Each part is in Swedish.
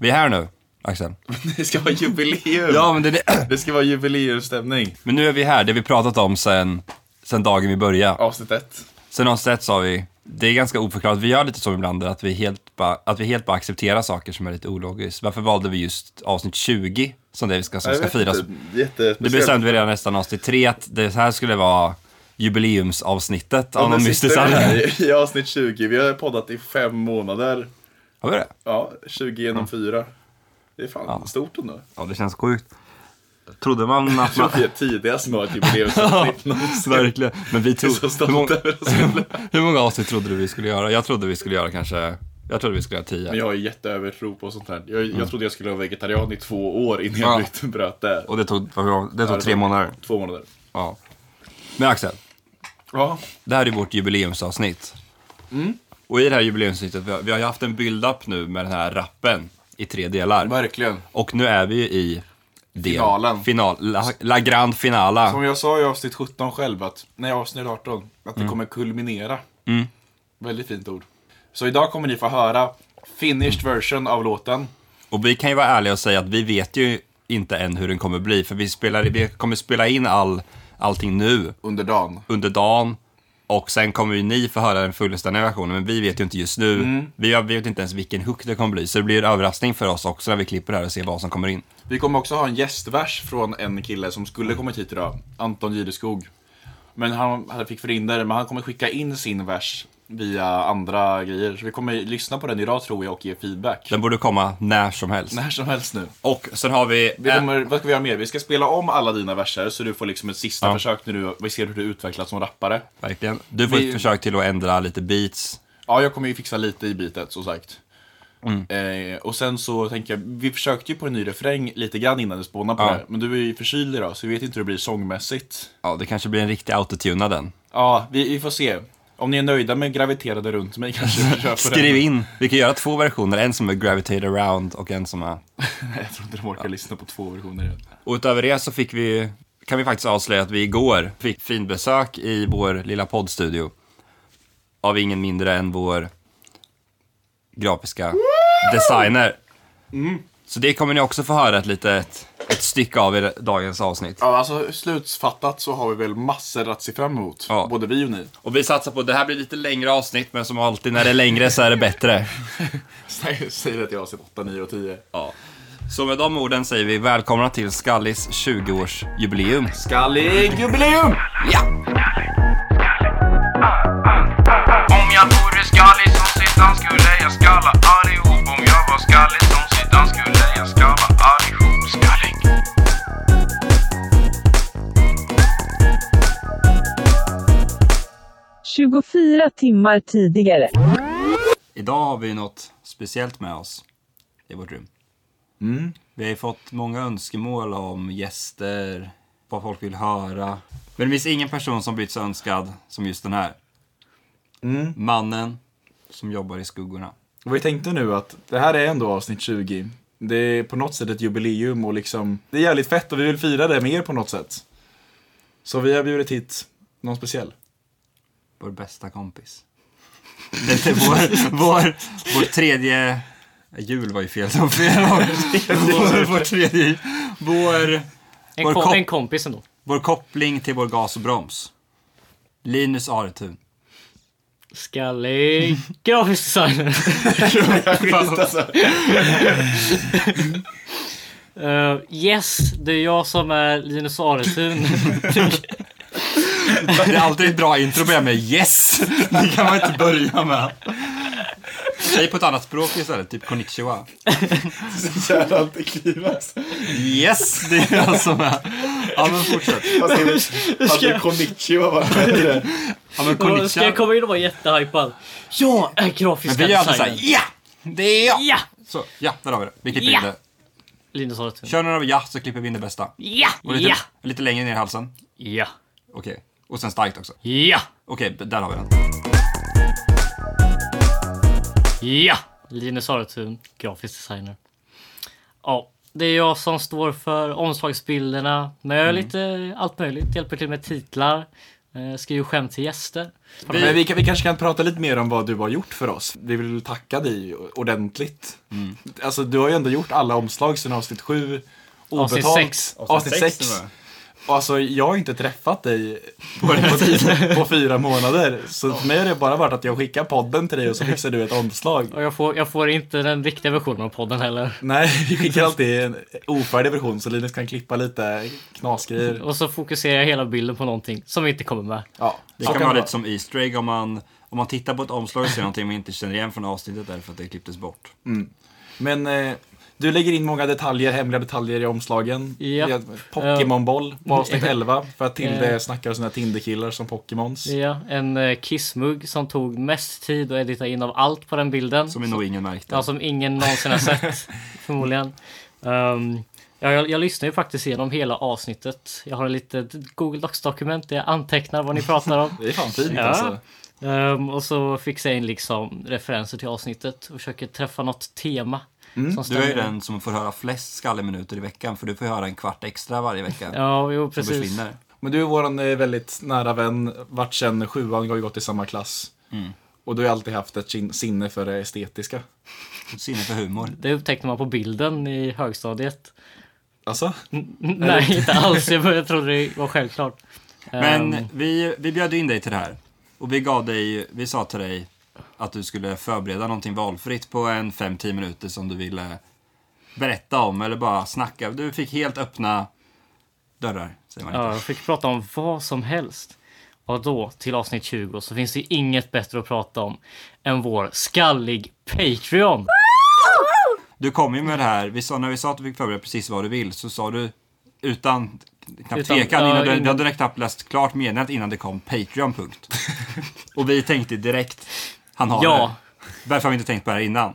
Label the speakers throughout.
Speaker 1: Vi är här nu, Axel.
Speaker 2: Det ska vara jubileum.
Speaker 1: Ja, men, det, är det.
Speaker 2: Det ska vara jubileumsstämning.
Speaker 1: men nu är vi här, det vi pratat om sen, sen dagen vi började.
Speaker 2: Avsnitt ett.
Speaker 1: Sen har sett sa vi, det är ganska oförklarat, vi gör lite så ibland att vi helt bara, att vi helt bara accepterar saker som är lite ologiskt. Varför valde vi just avsnitt 20 som det vi ska, som ska firas? Det
Speaker 2: Jättespeciellt.
Speaker 1: bestämde vi redan nästan avsnitt 3 att det här skulle vara jubileumsavsnittet av
Speaker 2: Och nu
Speaker 1: någon mystisk
Speaker 2: sitter vi
Speaker 1: anledning.
Speaker 2: här i- I avsnitt 20. Vi har poddat i fem månader.
Speaker 1: Har vi det?
Speaker 2: Ja, 20 genom fyra. Det är fan stort ändå.
Speaker 1: Ja, det känns sjukt. Trodde man att man...
Speaker 2: Det är tidigast som har ett jubileumsavsnitt någonsin.
Speaker 1: Verkligen. Men vi
Speaker 2: Jag
Speaker 1: tog...
Speaker 2: är så
Speaker 1: hur,
Speaker 2: stolt
Speaker 1: många,
Speaker 2: över oss.
Speaker 1: hur många avsnitt trodde du vi skulle göra? Jag trodde vi skulle göra kanske... Jag trodde vi skulle göra
Speaker 2: Men
Speaker 1: tio.
Speaker 2: jag är jätteövertro på sånt här. Jag, jag trodde jag skulle vara vegetarian i två år innan jag
Speaker 1: Mm. Ja.
Speaker 2: bytte bröt där.
Speaker 1: Och det tog, det tog tre månader.
Speaker 2: Två månader.
Speaker 1: Ja. Men Axel,
Speaker 2: Ja,
Speaker 1: det här är vårt jubileumsavsnitt.
Speaker 2: Mm.
Speaker 1: Och i det här jubileumsavsnittet, vi har, vi har ju haft en build-up nu med den här rappen i tre delar.
Speaker 2: verkligen.
Speaker 1: Och nu är vi ju i... Del,
Speaker 2: Finalen.
Speaker 1: Final, la, la grand finala.
Speaker 2: Som jag sa i avsnitt 17 själv, att, nej avsnitt 18, att det kommer kulminera. Väldigt fint ord. Så idag kommer ni få höra finished version av låten.
Speaker 1: Och vi kan ju vara ärliga och säga att vi vet ju inte än hur den kommer bli. För vi, spelar, vi kommer spela in all, allting nu
Speaker 2: Under dagen.
Speaker 1: under dagen. Och sen kommer ju ni få höra den fullständiga versionen, men vi vet ju inte just nu. Vi har- vi vet inte ens vilken hook det kommer bli, så det blir en överraskning för oss också när vi klipper det här och ser vad som kommer in.
Speaker 2: Vi kommer också ha en gästvers från en kille som skulle kommit hit idag, Anton Gideskog. Men han, han fick förhinder, men han kommer skicka in sin vers via andra grejer. Så vi kommer lyssna på den idag tror jag och ge feedback.
Speaker 1: Den borde komma när som helst.
Speaker 2: När som helst nu.
Speaker 1: Och sen har vi...
Speaker 2: Vi
Speaker 1: eh,
Speaker 2: kommer, vad ska vi göra mer? Vi ska spela om alla dina verser så du får liksom ett sista försök när du, vi ser hur du utvecklas som rappare.
Speaker 1: verkligen. Du får
Speaker 2: vi-
Speaker 1: ett försök till att ändra lite beats.
Speaker 2: Ja, jag kommer ju fixa lite i bitet som sagt. Eh, och sen så tänker jag, vi försökte ju på en ny refräng lite grann innan du spånade på
Speaker 1: Ja.
Speaker 2: det här, Men du är ju förkyld idag så vi vet inte hur det blir sångmässigt.
Speaker 1: Ja, det kanske blir en riktig autotune av den.
Speaker 2: Ja, vi, vi får se. Om ni är nöjda med graviterade runt mig kanske vi kör på
Speaker 1: Skriv in! Vi kan göra två versioner, en som är Gravitate Around och en som är...
Speaker 2: den. Nej, jag tror inte de orkar lyssna på två versioner. igen.
Speaker 1: Och utöver det så fick vi, kan vi faktiskt avslöja att vi igår fick fin besök i vår lilla poddstudio. Av ingen mindre än vår grafiska designer. Så det kommer ni också få höra ett litet ett stycke av i dagens avsnitt.
Speaker 2: Ja, alltså slutfattat så har vi väl massor att se fram emot.
Speaker 1: Ja.
Speaker 2: Både vi och ni.
Speaker 1: Och vi satsar på, det här blir lite längre avsnitt, men som alltid när det är längre så är det bättre.
Speaker 2: Säg säg det till avsnitt 8, 9 och 10.
Speaker 1: Ja. Så med de orden säger vi välkomna till Skallis 20-årsjubileum.
Speaker 2: Skallig jubileum!
Speaker 3: Om jag vore skallig som Zidane skulle jag skalla allihop Om jag var skallig som Zidane skulle jag skalla allihop Skallig
Speaker 4: Tjugofyra timmar tidigare.
Speaker 1: Idag har vi något speciellt med oss i vårt rum.
Speaker 2: Mm,
Speaker 1: Vi har ju fått många önskemål om gäster, vad folk vill höra. Men det finns ingen person som blivit så önskad som just den här.
Speaker 2: mm.
Speaker 1: Mannen som jobbar i skuggorna.
Speaker 2: Och vi tänkte nu att det här är ändå avsnitt 20. Det är på något sätt ett jubileum och liksom, det är jävligt fett och vi vill fira det med er på något sätt. Så vi har bjudit hit någon speciell.
Speaker 1: Vår bästa kompis. Det är inte vår, vår, vår tredje... Jul var ju fel. Det var fel. Vår, vår tredje... Vår...
Speaker 5: En,
Speaker 1: Vår
Speaker 5: kom,
Speaker 1: kop-
Speaker 5: en kompis ändå.
Speaker 1: Vår koppling till vår gas och broms. Linus Aretun.
Speaker 5: Skallig grafisk designer. Eh, yes, det är jag som är Linus Aretun.
Speaker 1: Det är alltid ett bra intro att börja med yes. Det kan man inte börja med. Säg på ett annat språk istället, typ konnichiwa.
Speaker 2: Jävla antiklimax.
Speaker 1: Yes, det är jag som är. Ja men fortsätt.
Speaker 2: Hade konnichiwa varit bättre?
Speaker 1: Ja men
Speaker 5: Ska jag
Speaker 1: konnichiwa.
Speaker 5: komma in och vara jättehypad? Jag är
Speaker 1: Men
Speaker 5: grafiska
Speaker 1: vi alltså gör alltid såhär,
Speaker 5: designern.
Speaker 1: ja! Det är jag!
Speaker 5: Ja!
Speaker 1: Så, ja, där har vi det. Vi klipper
Speaker 5: Ja.
Speaker 1: in det.
Speaker 5: Linus Aretun.
Speaker 1: Kör några av ja, så klipper vi in det bästa.
Speaker 5: Ja!
Speaker 1: Och lite,
Speaker 5: Ja!
Speaker 1: lite längre ner i halsen.
Speaker 5: Ja!
Speaker 1: Okej. Och sen starkt också.
Speaker 5: Ja!
Speaker 1: Okej, där har vi den.
Speaker 5: Ja! Linus Aretun, grafisk designer. Ja, det är jag som står för omslagsbilderna. Men jag gör lite allt möjligt. Hjälper till med titlar. Eh, skriver skämt till gäster.
Speaker 2: Men vi, kan, vi kanske kan prata lite mer om vad du har gjort för oss. Vi vill tacka dig ordentligt.
Speaker 5: Mm.
Speaker 2: Alltså, du har ju ändå gjort alla omslag sedan avsnitt 7.
Speaker 5: Avsnitt
Speaker 2: obetalt.
Speaker 5: sex.
Speaker 2: Avsnitt
Speaker 6: sex,
Speaker 2: 6.
Speaker 6: tror jag.
Speaker 2: Alltså, jag har inte träffat dig på, på, på fyra månader. Så för mig har det bara varit att jag skickar podden till dig och så fixar du ett omslag.
Speaker 5: Och jag får, jag får inte den riktiga versionen av podden heller.
Speaker 2: Nej, vi skickar alltid en ofärdig version så Linus kan klippa lite knasgrejer.
Speaker 5: Och så fokuserar jag hela bilden på någonting som inte kommer med.
Speaker 2: Ja,
Speaker 1: Det
Speaker 2: så
Speaker 1: kan man ha
Speaker 2: det
Speaker 1: lite som Easter egg om man, om man tittar på ett omslag och ser någonting man inte känner igen från avsnittet därför att det klipptes bort.
Speaker 2: Men eh, du lägger in många detaljer, hemliga detaljer i omslagen.
Speaker 5: Ja.
Speaker 2: Vi har Pokémonboll på avsnitt 11 för att Tilde
Speaker 5: Eh.
Speaker 2: snackar om sina Tinderkillar som Pokémons.
Speaker 5: Ja, en eh, kissmugg som tog mest tid att edita in av allt på den bilden.
Speaker 1: Som nog ingen märkte.
Speaker 5: Ja, som ingen någonsin har sett. förmodligen. Ehm, ja, jag, jag lyssnar ju faktiskt igenom hela avsnittet. Jag har ett litet Google Docs-dokument där jag antecknar vad ni pratar om.
Speaker 2: Det är fan fint
Speaker 5: Ja.
Speaker 2: alltså.
Speaker 5: Ehm, och så fixar jag in liksom referenser till avsnittet och försöker träffa något tema. som
Speaker 1: Mm, du är ju
Speaker 5: stämmer.
Speaker 1: den som får höra flest skalleminuter i veckan för du får höra en kvart extra varje vecka.
Speaker 5: Ja, jo,
Speaker 1: som
Speaker 5: precis.
Speaker 1: försvinner.
Speaker 2: Men du är våran eh, väldigt nära vän, vart sen sjuan har vi gått i samma klass. Och du har alltid haft ett kin- sinne för det estetiska.
Speaker 1: Sinne för humor.
Speaker 5: Det upptäckte man på bilden i högstadiet.
Speaker 2: Alltså?
Speaker 5: Nej, inte alls. Jag började- jag trodde det var självklart.
Speaker 1: Men
Speaker 5: Ehm,
Speaker 1: vi, vi bjöd in dig till det här. Och vi gav dig, vi sa till dig att du skulle förbereda någonting valfritt på en 5-10 minuter som du ville berätta om eller bara snacka. Du fick helt öppna dörrar, säger man
Speaker 5: ja,
Speaker 1: inte.
Speaker 5: jag fick prata om vad som helst. Och då, till avsnitt 20, så finns det ju inget bättre att prata om än vår skallig Patreon.
Speaker 1: Du kom ju med det här, vi sa, när vi sa att du fick förbereda precis vad du vill så sa du utan knappt
Speaker 5: Utan-
Speaker 1: tvekan,
Speaker 5: ja,
Speaker 1: innan du, du
Speaker 5: innan-
Speaker 1: hade knappt läst klart meningen innan det kom Patreon. punkt. Och vi tänkte direkt, han har
Speaker 5: Ja.
Speaker 1: det. Varför har vi inte tänkt på det här innan?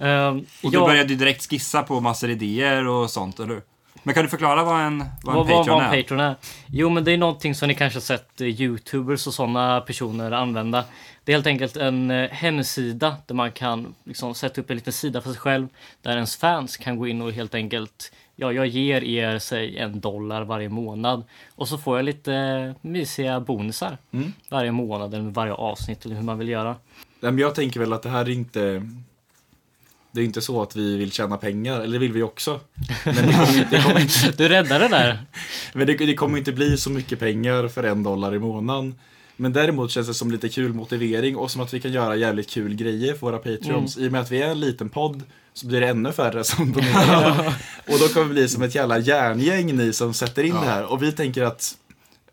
Speaker 5: Ehm,
Speaker 1: Och
Speaker 5: ja,
Speaker 1: du började ju direkt skissa på massor idéer och sånt, eller hur? Men kan du förklara vad en, vad en
Speaker 5: vad, vad,
Speaker 1: Patreon
Speaker 5: vad
Speaker 1: är?
Speaker 5: en Patreon är? Jo, men det är någonting som ni kanske har sett eh, Youtubers och sådana personer använda. Det är helt enkelt en eh, hemsida där man kan liksom sätta upp en liten sida för sig själv där ens fans kan gå in och helt enkelt Ja, jag ger er säg en dollar varje månad och så får jag lite eh, mysiga bonusar
Speaker 1: Mm.
Speaker 5: varje månad eller varje avsnitt eller hur man vill göra.
Speaker 2: Nej, men jag tänker väl att det här är inte... Det är inte så att vi vill tjäna pengar, eller det vill vi också. Men det kommer, inte- det kommer, inte-
Speaker 5: Du räddade det där.
Speaker 2: men det, det kommer inte bli så mycket pengar för en dollar i månaden. Men däremot känns det som lite kul motivering och som att vi kan göra jävligt kul grejer för våra Patreons. I och med att vi är en liten podd så blir det ännu färre som donerar. och då kommer vi bli som ett jävla järngäng ni som sätter in det här. Och vi tänker att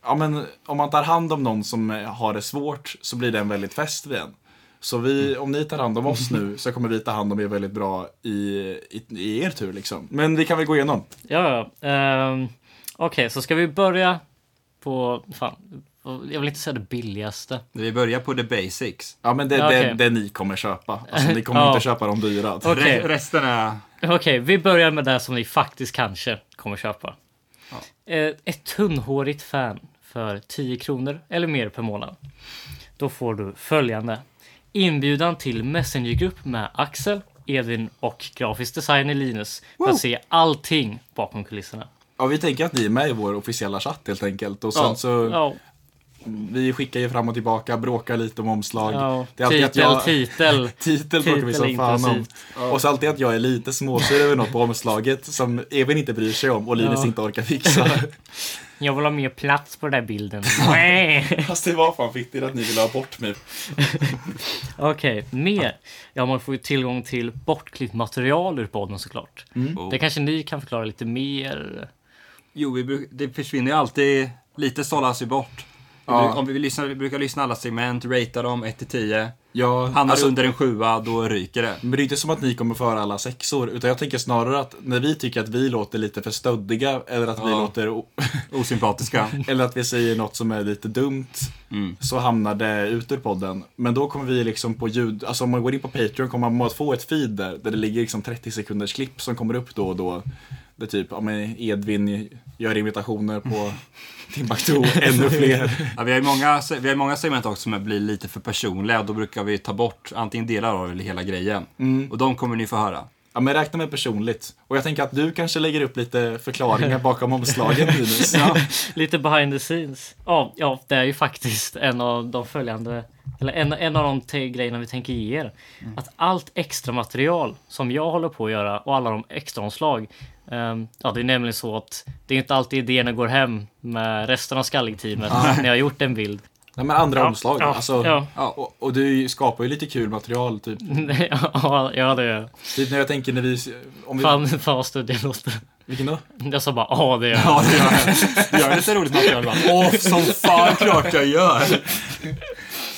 Speaker 2: ja, men, om man tar hand om någon som eh, har det svårt så blir det en väldigt fest vid en. Så vi, om ni tar hand om oss nu så kommer vi ta hand om er väldigt bra i, i, i er tur liksom. Men vi kan väl gå igenom.
Speaker 5: Ja, ja. Ehm, Okej, så ska vi börja på... Fan, jag vill inte säga det billigaste.
Speaker 1: Vi börjar på the basics.
Speaker 2: Ja men det,
Speaker 5: Ja,
Speaker 2: det,
Speaker 5: okej.
Speaker 2: det ni kommer köpa. Alltså ni kommer
Speaker 5: Ja.
Speaker 2: inte köpa de dyra.
Speaker 5: Okej.
Speaker 1: Re- resten är...
Speaker 5: Okej, vi börjar med det som ni faktiskt kanske kommer köpa. Eh, Ett tunnhårigt fan för 10 kronor eller mer per månad. Då får du följande. Inbjudan till Messengergrupp med Axel, Edvin och grafisk designer Linus för att se allting bakom kulisserna.
Speaker 2: Ja vi tänker att ni är med i vår officiella chatt helt enkelt. Och sen så,
Speaker 5: Ja,
Speaker 2: vi skickar ju fram och tillbaka, bråkar lite om omslag.
Speaker 5: ja.
Speaker 2: Det är alltid att
Speaker 5: Titel,
Speaker 2: jag-
Speaker 5: titel.
Speaker 2: Titel bråkar vi som
Speaker 5: Titel
Speaker 2: fan om.
Speaker 5: inklusivt.
Speaker 2: Och så alltid att jag är lite småsur över något på omslaget som Evin inte bryr sig om och Linus
Speaker 5: Ja.
Speaker 2: inte orkar fixa.
Speaker 5: Jag vill ha mer plats på den där bilden. Nej.
Speaker 2: Fast det var fan fittigt att ni ville ha bort mig.
Speaker 5: Okej, mer. Ja, man får ju tillgång till bortklippt material ur podden såklart. Det kanske ni kan förklara lite mer.
Speaker 1: Jo, vi bruk... det försvinner ju alltid... Lite sållas ju bort. Vi
Speaker 2: Ja.
Speaker 1: bruk- Om vi, vill lyssna, vi brukar lyssna alla segment, ratea dem 1-10.
Speaker 2: Ja,
Speaker 1: Hamnar
Speaker 2: alltså-
Speaker 1: du under en sjua, då ryker det.
Speaker 2: Men det är inte som att ni kommer föra alla sexor, utan jag tänker snarare att när vi tycker att vi låter lite för stöddiga eller att vi
Speaker 1: Ja.
Speaker 2: låter o-
Speaker 1: Osympatiska.
Speaker 2: eller att vi säger något som är lite dumt så hamnar det ut ur podden. Men då kommer vi liksom på ljud, alltså om man går in på Patreon kommer man att få ett feed där, där det ligger liksom 30 sekunders klipp som kommer upp då och då. Det typ, ja men Edvin gör imitationer på Timbuktu, ännu fler.
Speaker 1: Ja, vi, har ju många, se- vi har ju många segment också som är- blir lite för personliga. Då brukar vi ta bort antingen delar av det eller hela grejen. Och de kommer ni få höra.
Speaker 2: Mm. Ja, men räkna med personligt. Och jag tänker att du kanske lägger upp lite förklaringar bakom omslagen, Linus. Ja.
Speaker 5: Lite behind the scenes. Ja, ja, det är ju faktiskt en av de följande eller en, en av de te- grejerna vi tänker ge er. Att allt extra material som jag håller på att göra och alla de extra omslag. ehm, ja, det är nämligen så att det är inte alltid idéerna går hem med resten av skallig-teamet när jag har gjort en bild.
Speaker 2: Nej, men andra
Speaker 5: Ja,
Speaker 2: omslag.
Speaker 5: ja,
Speaker 2: alltså,
Speaker 5: ja.
Speaker 2: Och, och du skapar ju lite kul material. Typ,
Speaker 5: ja, ja, det gör jag.
Speaker 2: typ när jag tänker när vi... Om vi
Speaker 5: Fan, fan vad stöddig jag låter.
Speaker 2: Vilken då?
Speaker 5: Jag sa bara ja, det gör jag.
Speaker 1: Ja, det gör jag. Du gör lite roligt material, va? Åh, som fan klart jag gör!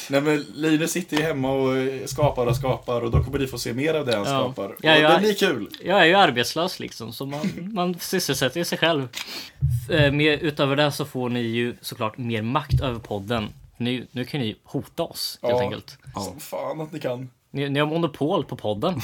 Speaker 2: Nej men Linus sitter ju hemma och eh, skapar och skapar och då kommer ni få se mer av det han
Speaker 5: Ja.
Speaker 2: skapar. Och
Speaker 5: Ja, ja.
Speaker 2: Det blir kul.
Speaker 5: Jag är ju arbetslös liksom, så man, man sysselsätter ju sig själv. Eh, Mer, utöver det så får ni ju såklart mer makt över podden. Nu, nu kan ni hota oss helt
Speaker 2: Ja.
Speaker 5: enkelt.
Speaker 2: Som fan att ni kan.
Speaker 5: Ni, ni har monopol på podden.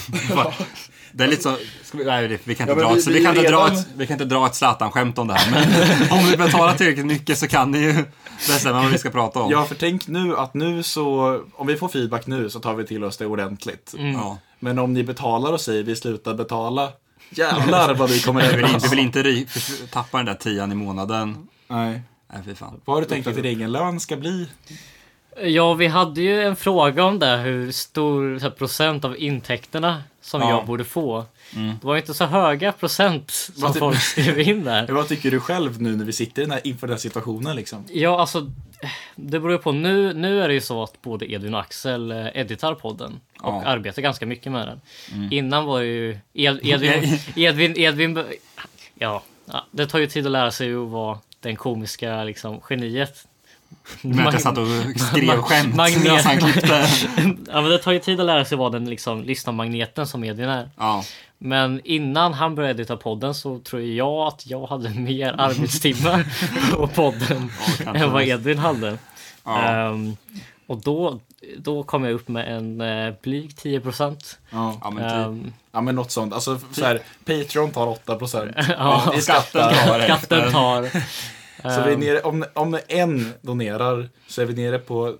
Speaker 1: Det är lite så... Ska vi, nej, vi kan
Speaker 2: Ja,
Speaker 1: inte
Speaker 2: men
Speaker 1: dra
Speaker 2: vi-
Speaker 1: ett-
Speaker 2: vi
Speaker 1: vi kan
Speaker 2: är
Speaker 1: inte dra
Speaker 2: redan-
Speaker 1: ett- vi kan inte dra ett Zlatan-skämt om det här, men om vi betalar tillräckligt mycket så kan ni ju bestämma vad vi ska prata om.
Speaker 2: Ja för tänk nu att nu så, om vi får feedback nu så tar vi till oss det ordentligt.
Speaker 5: Mm.
Speaker 1: Ja.
Speaker 2: Men om ni betalar och säger vi slutar betala, jävlar vad vi kommer
Speaker 1: Vi vill inte, vi
Speaker 2: överens.
Speaker 1: vill inte ry, tappa den där tian i månaden.
Speaker 2: Nej.
Speaker 1: Nej, fy fan.
Speaker 2: Vad har du tänkt att din egen lön ska bli?
Speaker 5: Ja, vi hade ju en fråga om det, hur stor så här, procent av intäkterna som
Speaker 1: Ja.
Speaker 5: jag borde få. Det var ju inte så höga procent som
Speaker 2: Vad-
Speaker 5: folk skrev in där.
Speaker 2: Vad tycker du själv nu när vi sitter i den här, inför den här situationen liksom?
Speaker 5: Ja, alltså. Det beror ju på. Nu, nu är det ju så att både Edvin och Axel eh, editar podden och
Speaker 1: Ja. Mm.
Speaker 5: arbetar ganska mycket med den. Innan var det ju Ed, Edvin, Edvin, Edvin... be- Ja, ja, det tar ju tid att lära sig att vara den komiska liksom, geniet.
Speaker 1: Du menar att jag satt och skrev
Speaker 5: Mag-
Speaker 1: skämt
Speaker 5: magnet.
Speaker 1: medan han klippte?
Speaker 5: ja, men det tar ju tid att lära sig att vara den liksom, lyssnarmagneten som Edvin är.
Speaker 1: Ja.
Speaker 5: Men innan han började edita podden så tror jag att jag hade mer arbetstimmar på podden än vad Edvin hade.
Speaker 1: Ja.
Speaker 5: Ehm, och då, då kom jag upp med en uh, blyg 10 procent. Ehm,
Speaker 1: ja, men typ.
Speaker 2: Ja men något sånt. Alltså så här, Patreon tar 8%.
Speaker 5: Ja.
Speaker 2: Det är skattar.
Speaker 5: Katten tar. Ehm,
Speaker 2: Så vi är nere, om, om en donerar så är vi nere på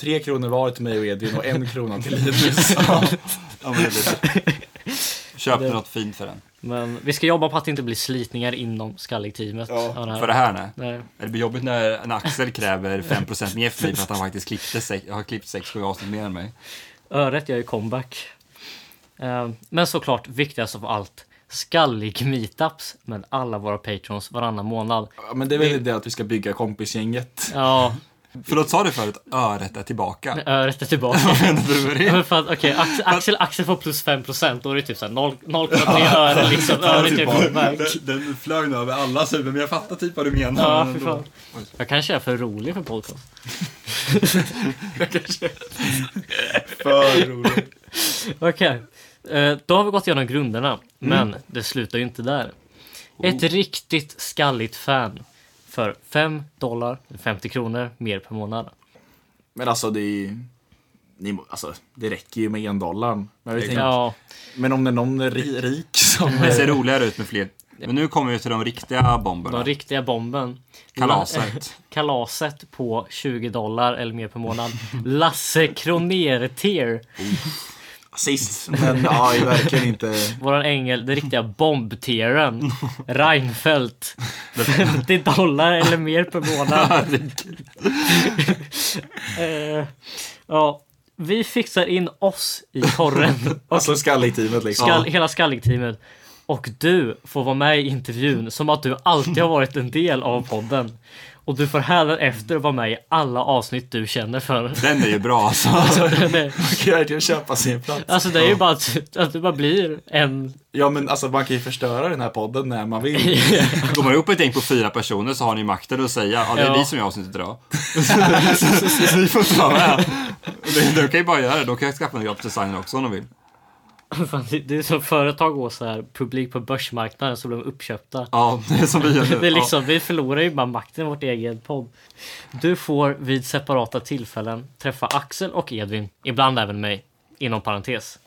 Speaker 2: tre kronor var till mig och Edvin och en krona till Linus.
Speaker 1: Ja, men det blir så. Köp något fint för den.
Speaker 5: Men vi ska jobba på att det inte blir slitningar inom skallig-teamet.
Speaker 2: Ja,
Speaker 5: av
Speaker 1: För det här nej.
Speaker 5: Nej.
Speaker 1: Det blir jobbigt när en Axel kräver 5% mer för mig för att han faktiskt klippte sex, har klippt 6-7 avsnitt mer än mig.
Speaker 5: Öret gör ju comeback. Ehm, men såklart viktigast av allt. Skallig meetups med alla våra patrons varannan månad.
Speaker 2: Ja, men det är väl det att vi ska bygga kompisgänget.
Speaker 5: Ja,
Speaker 1: Förlåt, sa du förut öret är tillbaka?
Speaker 5: öret är tillbaka.
Speaker 1: Menar du med det?
Speaker 5: Men för att, okej, Axel, Axel, Axel får plus 5% då är det typ såhär 0 0,3 öre liksom. Öret gör comeback.
Speaker 1: den flög nu över alla huvuden, men jag fattar typ vad du menar.
Speaker 5: Ja, fy fan. Jag kanske är för rolig för podcast.
Speaker 2: För roligt.
Speaker 5: Okej. Eh, Då har vi gått igenom grunderna, men det slutar ju inte där. Ett riktigt skalligt fan för 5 dollar, 50 kronor mer per månad.
Speaker 2: Men alltså det är ni, må- alltså, det räcker ju med en dollar. Men, vi tänker,
Speaker 5: Ja,
Speaker 2: men om det är någon ri- rik som...
Speaker 1: Det ser roligare ut med fler. Men nu kommer vi till de riktiga bomberna.
Speaker 5: de riktiga bomben.
Speaker 1: Kalaset.
Speaker 5: Kalaset på 20 dollar eller mer per månad. Lasse Kronér-tier.
Speaker 2: Sist, men ja, är verkligen inte...
Speaker 5: Våran ängel, den riktiga bombtieren. Reinfeldt. 50 dollar eller mer per månad. Eh, ja, vi fixar in oss i korren. Och
Speaker 2: Alltså skallig-teamet liksom.
Speaker 5: skall, hela skallig-teamet. Och du får vara med i intervjun som att du alltid har varit en del av podden. Och du får hädanefter vara med i alla avsnitt du känner för.
Speaker 1: Den är ju bra alltså.
Speaker 2: Man kan ju verkligen köpa sin plats.
Speaker 5: Alltså det är ju bara att, att du bara blir en...
Speaker 2: Ja men alltså man kan ju förstöra den här podden när man vill.
Speaker 1: Går man ihop ett gäng på fyra personer så har ni makten att säga ja, det är
Speaker 5: Ja.
Speaker 1: vi som gör avsnittet idag. Så Ni får inte vara med. De- De kan ju bara göra det. De kan ju skaffa en grafikdesigner också om de vill.
Speaker 5: Fan, det- det är som företag går så här publik på börsmarknaden så blir de uppköpta.
Speaker 1: Ja, det är som vi gör nu.
Speaker 5: Det är liksom, vi förlorar ju bara makten i vårt eget podd. Du får vid separata tillfällen träffa Axel och Edvin, ibland även mig, inom parentes.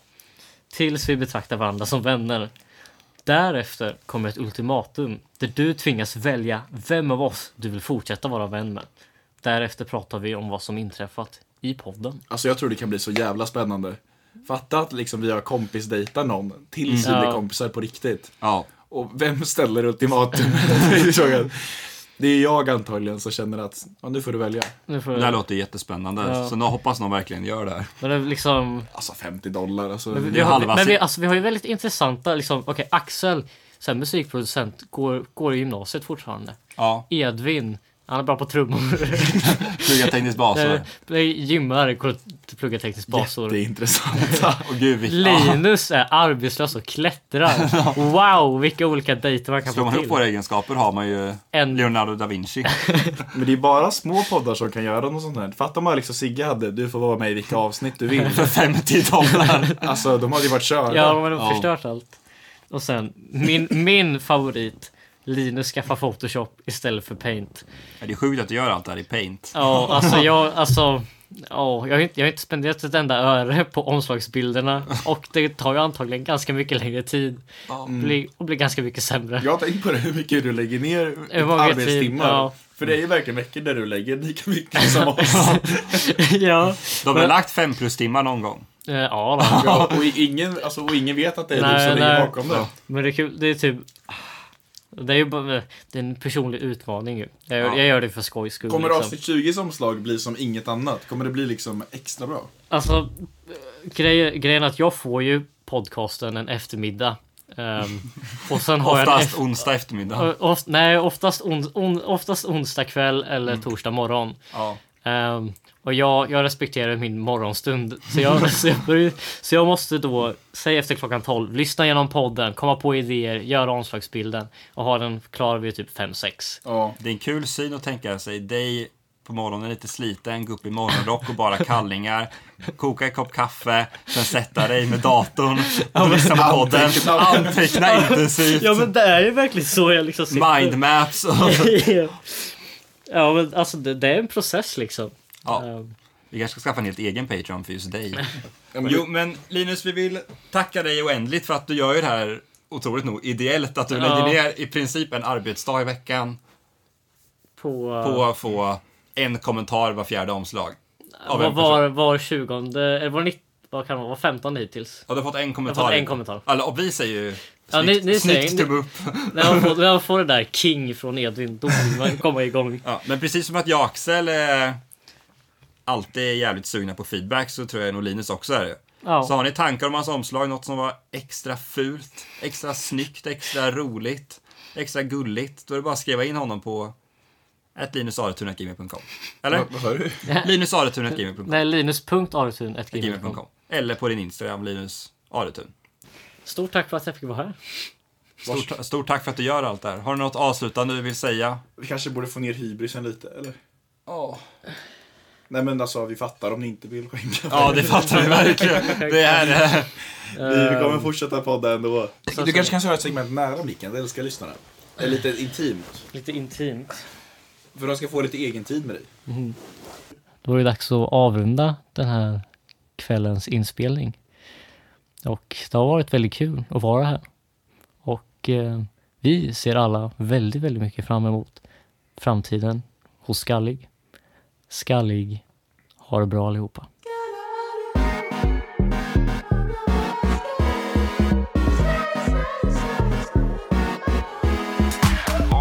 Speaker 5: Tills vi betraktar varandra som vänner. Därefter kommer ett ultimatum där du tvingas välja vem av oss du vill fortsätta vara vän med. Därefter pratar vi om vad som inträffat i podden.
Speaker 2: Alltså jag tror det kan bli så jävla spännande. Fatta att liksom vi har kompisdejtat någon tills vi
Speaker 5: Mm. Ja.
Speaker 2: blir kompisar på riktigt.
Speaker 1: Ja.
Speaker 2: Och vem ställer ultimatum? Det är frågan. det är jag antagligen som känner att ja, nu får du välja.
Speaker 5: Nu får
Speaker 1: Det här låter jättespännande.
Speaker 5: Ja.
Speaker 1: Så nu hoppas någon verkligen gör det här.
Speaker 5: Men det är liksom...
Speaker 2: Alltså 50 dollar. Alltså.
Speaker 1: Det är
Speaker 5: Ja,
Speaker 1: halva
Speaker 5: men
Speaker 1: se-
Speaker 5: vi, alltså, vi har ju väldigt intressanta, liksom, okej Axel, så här, musikproducent, går, går i gymnasiet fortfarande.
Speaker 1: Ja,
Speaker 5: Edvin, han är bra på trummor.
Speaker 1: plugga teknisk bas.
Speaker 5: Eh,
Speaker 1: eller?
Speaker 5: nej, Gymmar, går och pluggar teknisk basår.
Speaker 2: Jätteintressanta.
Speaker 1: Åh gud, vi... ja.
Speaker 5: Linus är arbetslös och klättrar. Wow, vilka olika dejter man kan
Speaker 1: Slår
Speaker 5: få
Speaker 1: man
Speaker 5: till.
Speaker 1: ihop våra egenskaper har man ju
Speaker 5: En-
Speaker 1: Leonardo da Vinci.
Speaker 2: Men det är bara små poddar som kan göra något sånt här. Fatta om Alex och Sigge hade, du får vara med i vilka avsnitt du vill.
Speaker 1: För 50 dollar.
Speaker 2: Alltså de hade ju varit körda.
Speaker 5: Ja, de har
Speaker 1: Ja.
Speaker 5: förstört allt. Och sen, min, min favorit. Linus skaffar Photoshop istället för Paint.
Speaker 1: Ja, Det är sjukt att du gör allt det här i paint.
Speaker 5: Ja, alltså jag, alltså... Ja, jag, har inte, jag har inte spenderat ett enda öre på omslagsbilderna och det tar ju antagligen ganska mycket längre tid och blir, och blir ganska mycket sämre.
Speaker 2: Jag har tänkt på det, hur mycket du lägger ner
Speaker 5: Hur många
Speaker 2: arbetstimmar.
Speaker 5: tid, ja.
Speaker 2: För det är ju verkligen veckor där du lägger lika mycket som oss.
Speaker 5: ja.
Speaker 1: De har lagt fem plus timmar någon gång.
Speaker 5: Eh, Ja, då.
Speaker 2: Ja, och, ingen, alltså, och ingen vet att det är du
Speaker 5: Nej,
Speaker 2: som ligger
Speaker 5: nej.
Speaker 2: bakom det.
Speaker 5: Men det är kul, det är typ... Det är ju bara, det är en personlig utmaning ju. Jag, gör- jag gör det för skojs skull.
Speaker 2: Kommer
Speaker 5: liksom.
Speaker 2: avsnitt 20s omslag bli som inget annat? Kommer det bli liksom extra bra?
Speaker 5: Alltså, eh, grej, grejen är att jag får ju podcasten en eftermiddag. Ehm, och sen har jag en
Speaker 1: Oftast
Speaker 5: eff-
Speaker 1: onsdag eftermiddag.
Speaker 5: eh, oft, Nej, oftast, on, on, oftast onsdag kväll eller torsdag morgon.
Speaker 1: Mm. Ja.
Speaker 5: Ehm, och jag, jag respekterar min morgonstund. Så jag, så, jag börjar, så jag måste då, säg efter klockan 12, lyssna igenom podden, komma på idéer, göra omslagsbilden och ha den klar vid typ 5-6.
Speaker 2: Ja.
Speaker 1: Det är en kul syn att tänka sig dig på morgonen lite sliten, gå upp i morgonrock och bara kallingar, koka en kopp kaffe, sen sätta dig med datorn och lyssna på podden,
Speaker 2: Anteckna.
Speaker 1: anteckna intensivt,
Speaker 5: Ja men det är ju verkligen så jag liksom sitter.
Speaker 1: mindmaps och...
Speaker 5: ja men alltså det, det är en process liksom.
Speaker 1: Ja,
Speaker 5: Ehm,
Speaker 1: vi kanske ska skaffa en helt egen Patreon för just dig.
Speaker 2: men-
Speaker 1: Jo, men Linus, vi vill tacka dig oändligt för att du gör ju det här, otroligt nog, ideellt. Att du lägger
Speaker 5: Ja.
Speaker 1: ner i princip en arbetsdag i veckan
Speaker 5: På,
Speaker 1: på att få en kommentar var fjärde omslag. Av
Speaker 5: var,
Speaker 1: en person.
Speaker 5: var, var 20, eller var 19, vad kan det vara, var 15 hittills.
Speaker 1: Ja, du har fått en kommentar.
Speaker 5: Jag har fått en kommentar.
Speaker 1: Alltså, och vi säger ju snyggt,
Speaker 5: Ja, ni- ni säger-
Speaker 1: snyggt
Speaker 5: ni-
Speaker 1: tumme upp.
Speaker 5: När man får, när man får det där King från Edvin, då vill man komma igång.
Speaker 1: Ja, men precis som att jag och Axel eh, alltid är jävligt sugna på feedback så tror jag nog Linus också är det.
Speaker 5: Ja.
Speaker 1: Så har ni tankar om hans omslag, något som var extra fult, extra snyggt, extra roligt, extra gulligt, då är det bara att skriva in honom på ett linusaretun.gmail.com. Eller?
Speaker 2: Vad sa du?
Speaker 1: linusaretun.gmail.com.
Speaker 5: Nej, linus.aretun.gmail.com.
Speaker 1: Eller på din Instagram, Linus Aretun.
Speaker 5: Stort tack för att jag fick vara här.
Speaker 1: Stort, stort tack för att du gör allt det här. Har du något avslutande du vill säga?
Speaker 2: Vi kanske borde få ner hybrisen lite, eller? Ja. Nej men alltså vi fattar om ni inte vill skänka.
Speaker 1: Ja, det fattar vi verkligen. Det är... eh,
Speaker 2: Vi vi kommer fortsätta podda ändå.
Speaker 5: Ehm. så-
Speaker 2: Du kanske kan köra ett segment nära blicken, det älskar lyssnarna. Eller lite intimt.
Speaker 5: Lite intimt.
Speaker 2: För de ska få lite egen tid med dig.
Speaker 5: Då var det dags att avrunda den här kvällens inspelning. Och det har varit väldigt kul att vara här. Och eh, vi ser alla väldigt, väldigt mycket fram emot framtiden hos Skallig. Skallig, ha det bra allihopa.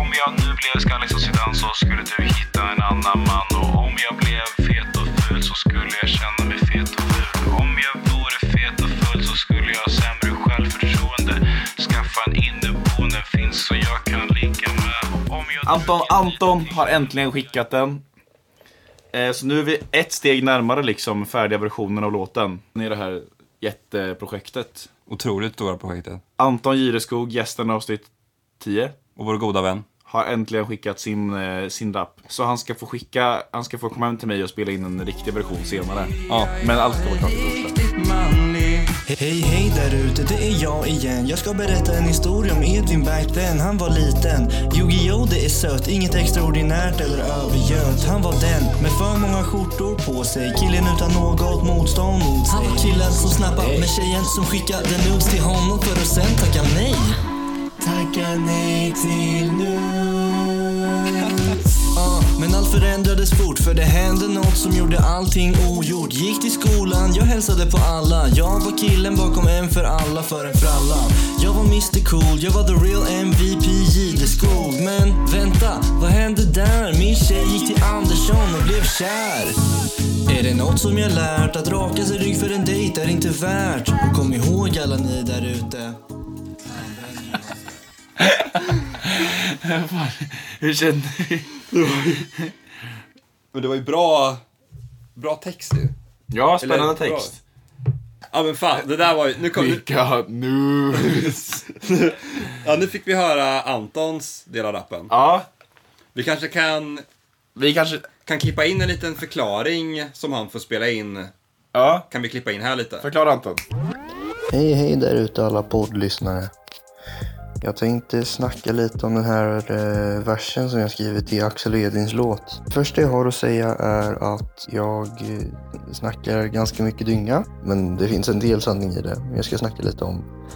Speaker 3: Om jag nu blev skallig som Zidane så skulle du hitta en annan man Och om jag blev fet och ful så skulle jag känna mig fet och ful Om jag vore fet och ful så skulle jag ha sämre självförtroende Skaffa en inneboende finns så jag kan ligga med Och om jag
Speaker 2: Anton, Anton har äntligen skickat den. Eh, Så nu är vi ett steg närmare liksom färdiga versionen av låten. I det här jätteprojektet.
Speaker 1: Otroligt stora projektet.
Speaker 2: Anton Gireskog, gästen avsnitt 10,
Speaker 1: Och vår goda vän.
Speaker 2: har äntligen skickat sin, eh, sin rap. Så han ska få skicka, han ska få komma hem till mig och spela in en riktig version senare.
Speaker 1: Ja.
Speaker 2: Men allt ska vara klart till torsdag.
Speaker 6: Hej hej där ute, det är jag igen. Jag ska berätta en historia om Edvin back then. Han var liten. Yu-Gi-Oh det är sött, inget extraordinärt eller övergönt. Han var den med för många skjortor på sig. Killen utan något motstånd mot sig. Han var killen som snappade med tjejen som skickade nudes till honom för att sen tacka nej. Tacka nej till nudes. Ah, Men allt förändrades fort för det hände något som gjorde allting ogjort. Gick till skolan, jag hälsade på alla. Jag var killen bakom en för alla för en fralla. Jag var Mr Cool, jag var the real MVP Gideskog. Men vänta, vad hände där? Min tjej gick till Andersson och blev kär. Är det något som jag lärt? Att raka sig rygg för en dejt är inte värt. Och kom ihåg alla ni där ute.
Speaker 2: Hur känner du?
Speaker 1: Men det var ju bra, bra text ju.
Speaker 2: Ja,
Speaker 1: Eller-
Speaker 2: spännande text.
Speaker 1: Ja men fan, det där var ju... Nu kom, nu,
Speaker 2: Vilka nu?
Speaker 1: ja, nu fick vi höra Antons del av rappen.
Speaker 2: Ja,
Speaker 1: Vi kanske kan,
Speaker 2: vi kanske...
Speaker 1: kan klippa in en liten förklaring som han får spela in.
Speaker 2: Ja,
Speaker 1: Kan vi klippa in här lite?
Speaker 2: förklara Anton.
Speaker 7: Hej hej där ute alla poddlyssnare. Jag tänkte snacka lite om den här eh, versen som jag skrivit i Axel Edins låt. Första jag har att säga är att jag eh, snackar ganska mycket dynga. Men det finns en del sanning i det. Men jag ska snacka lite om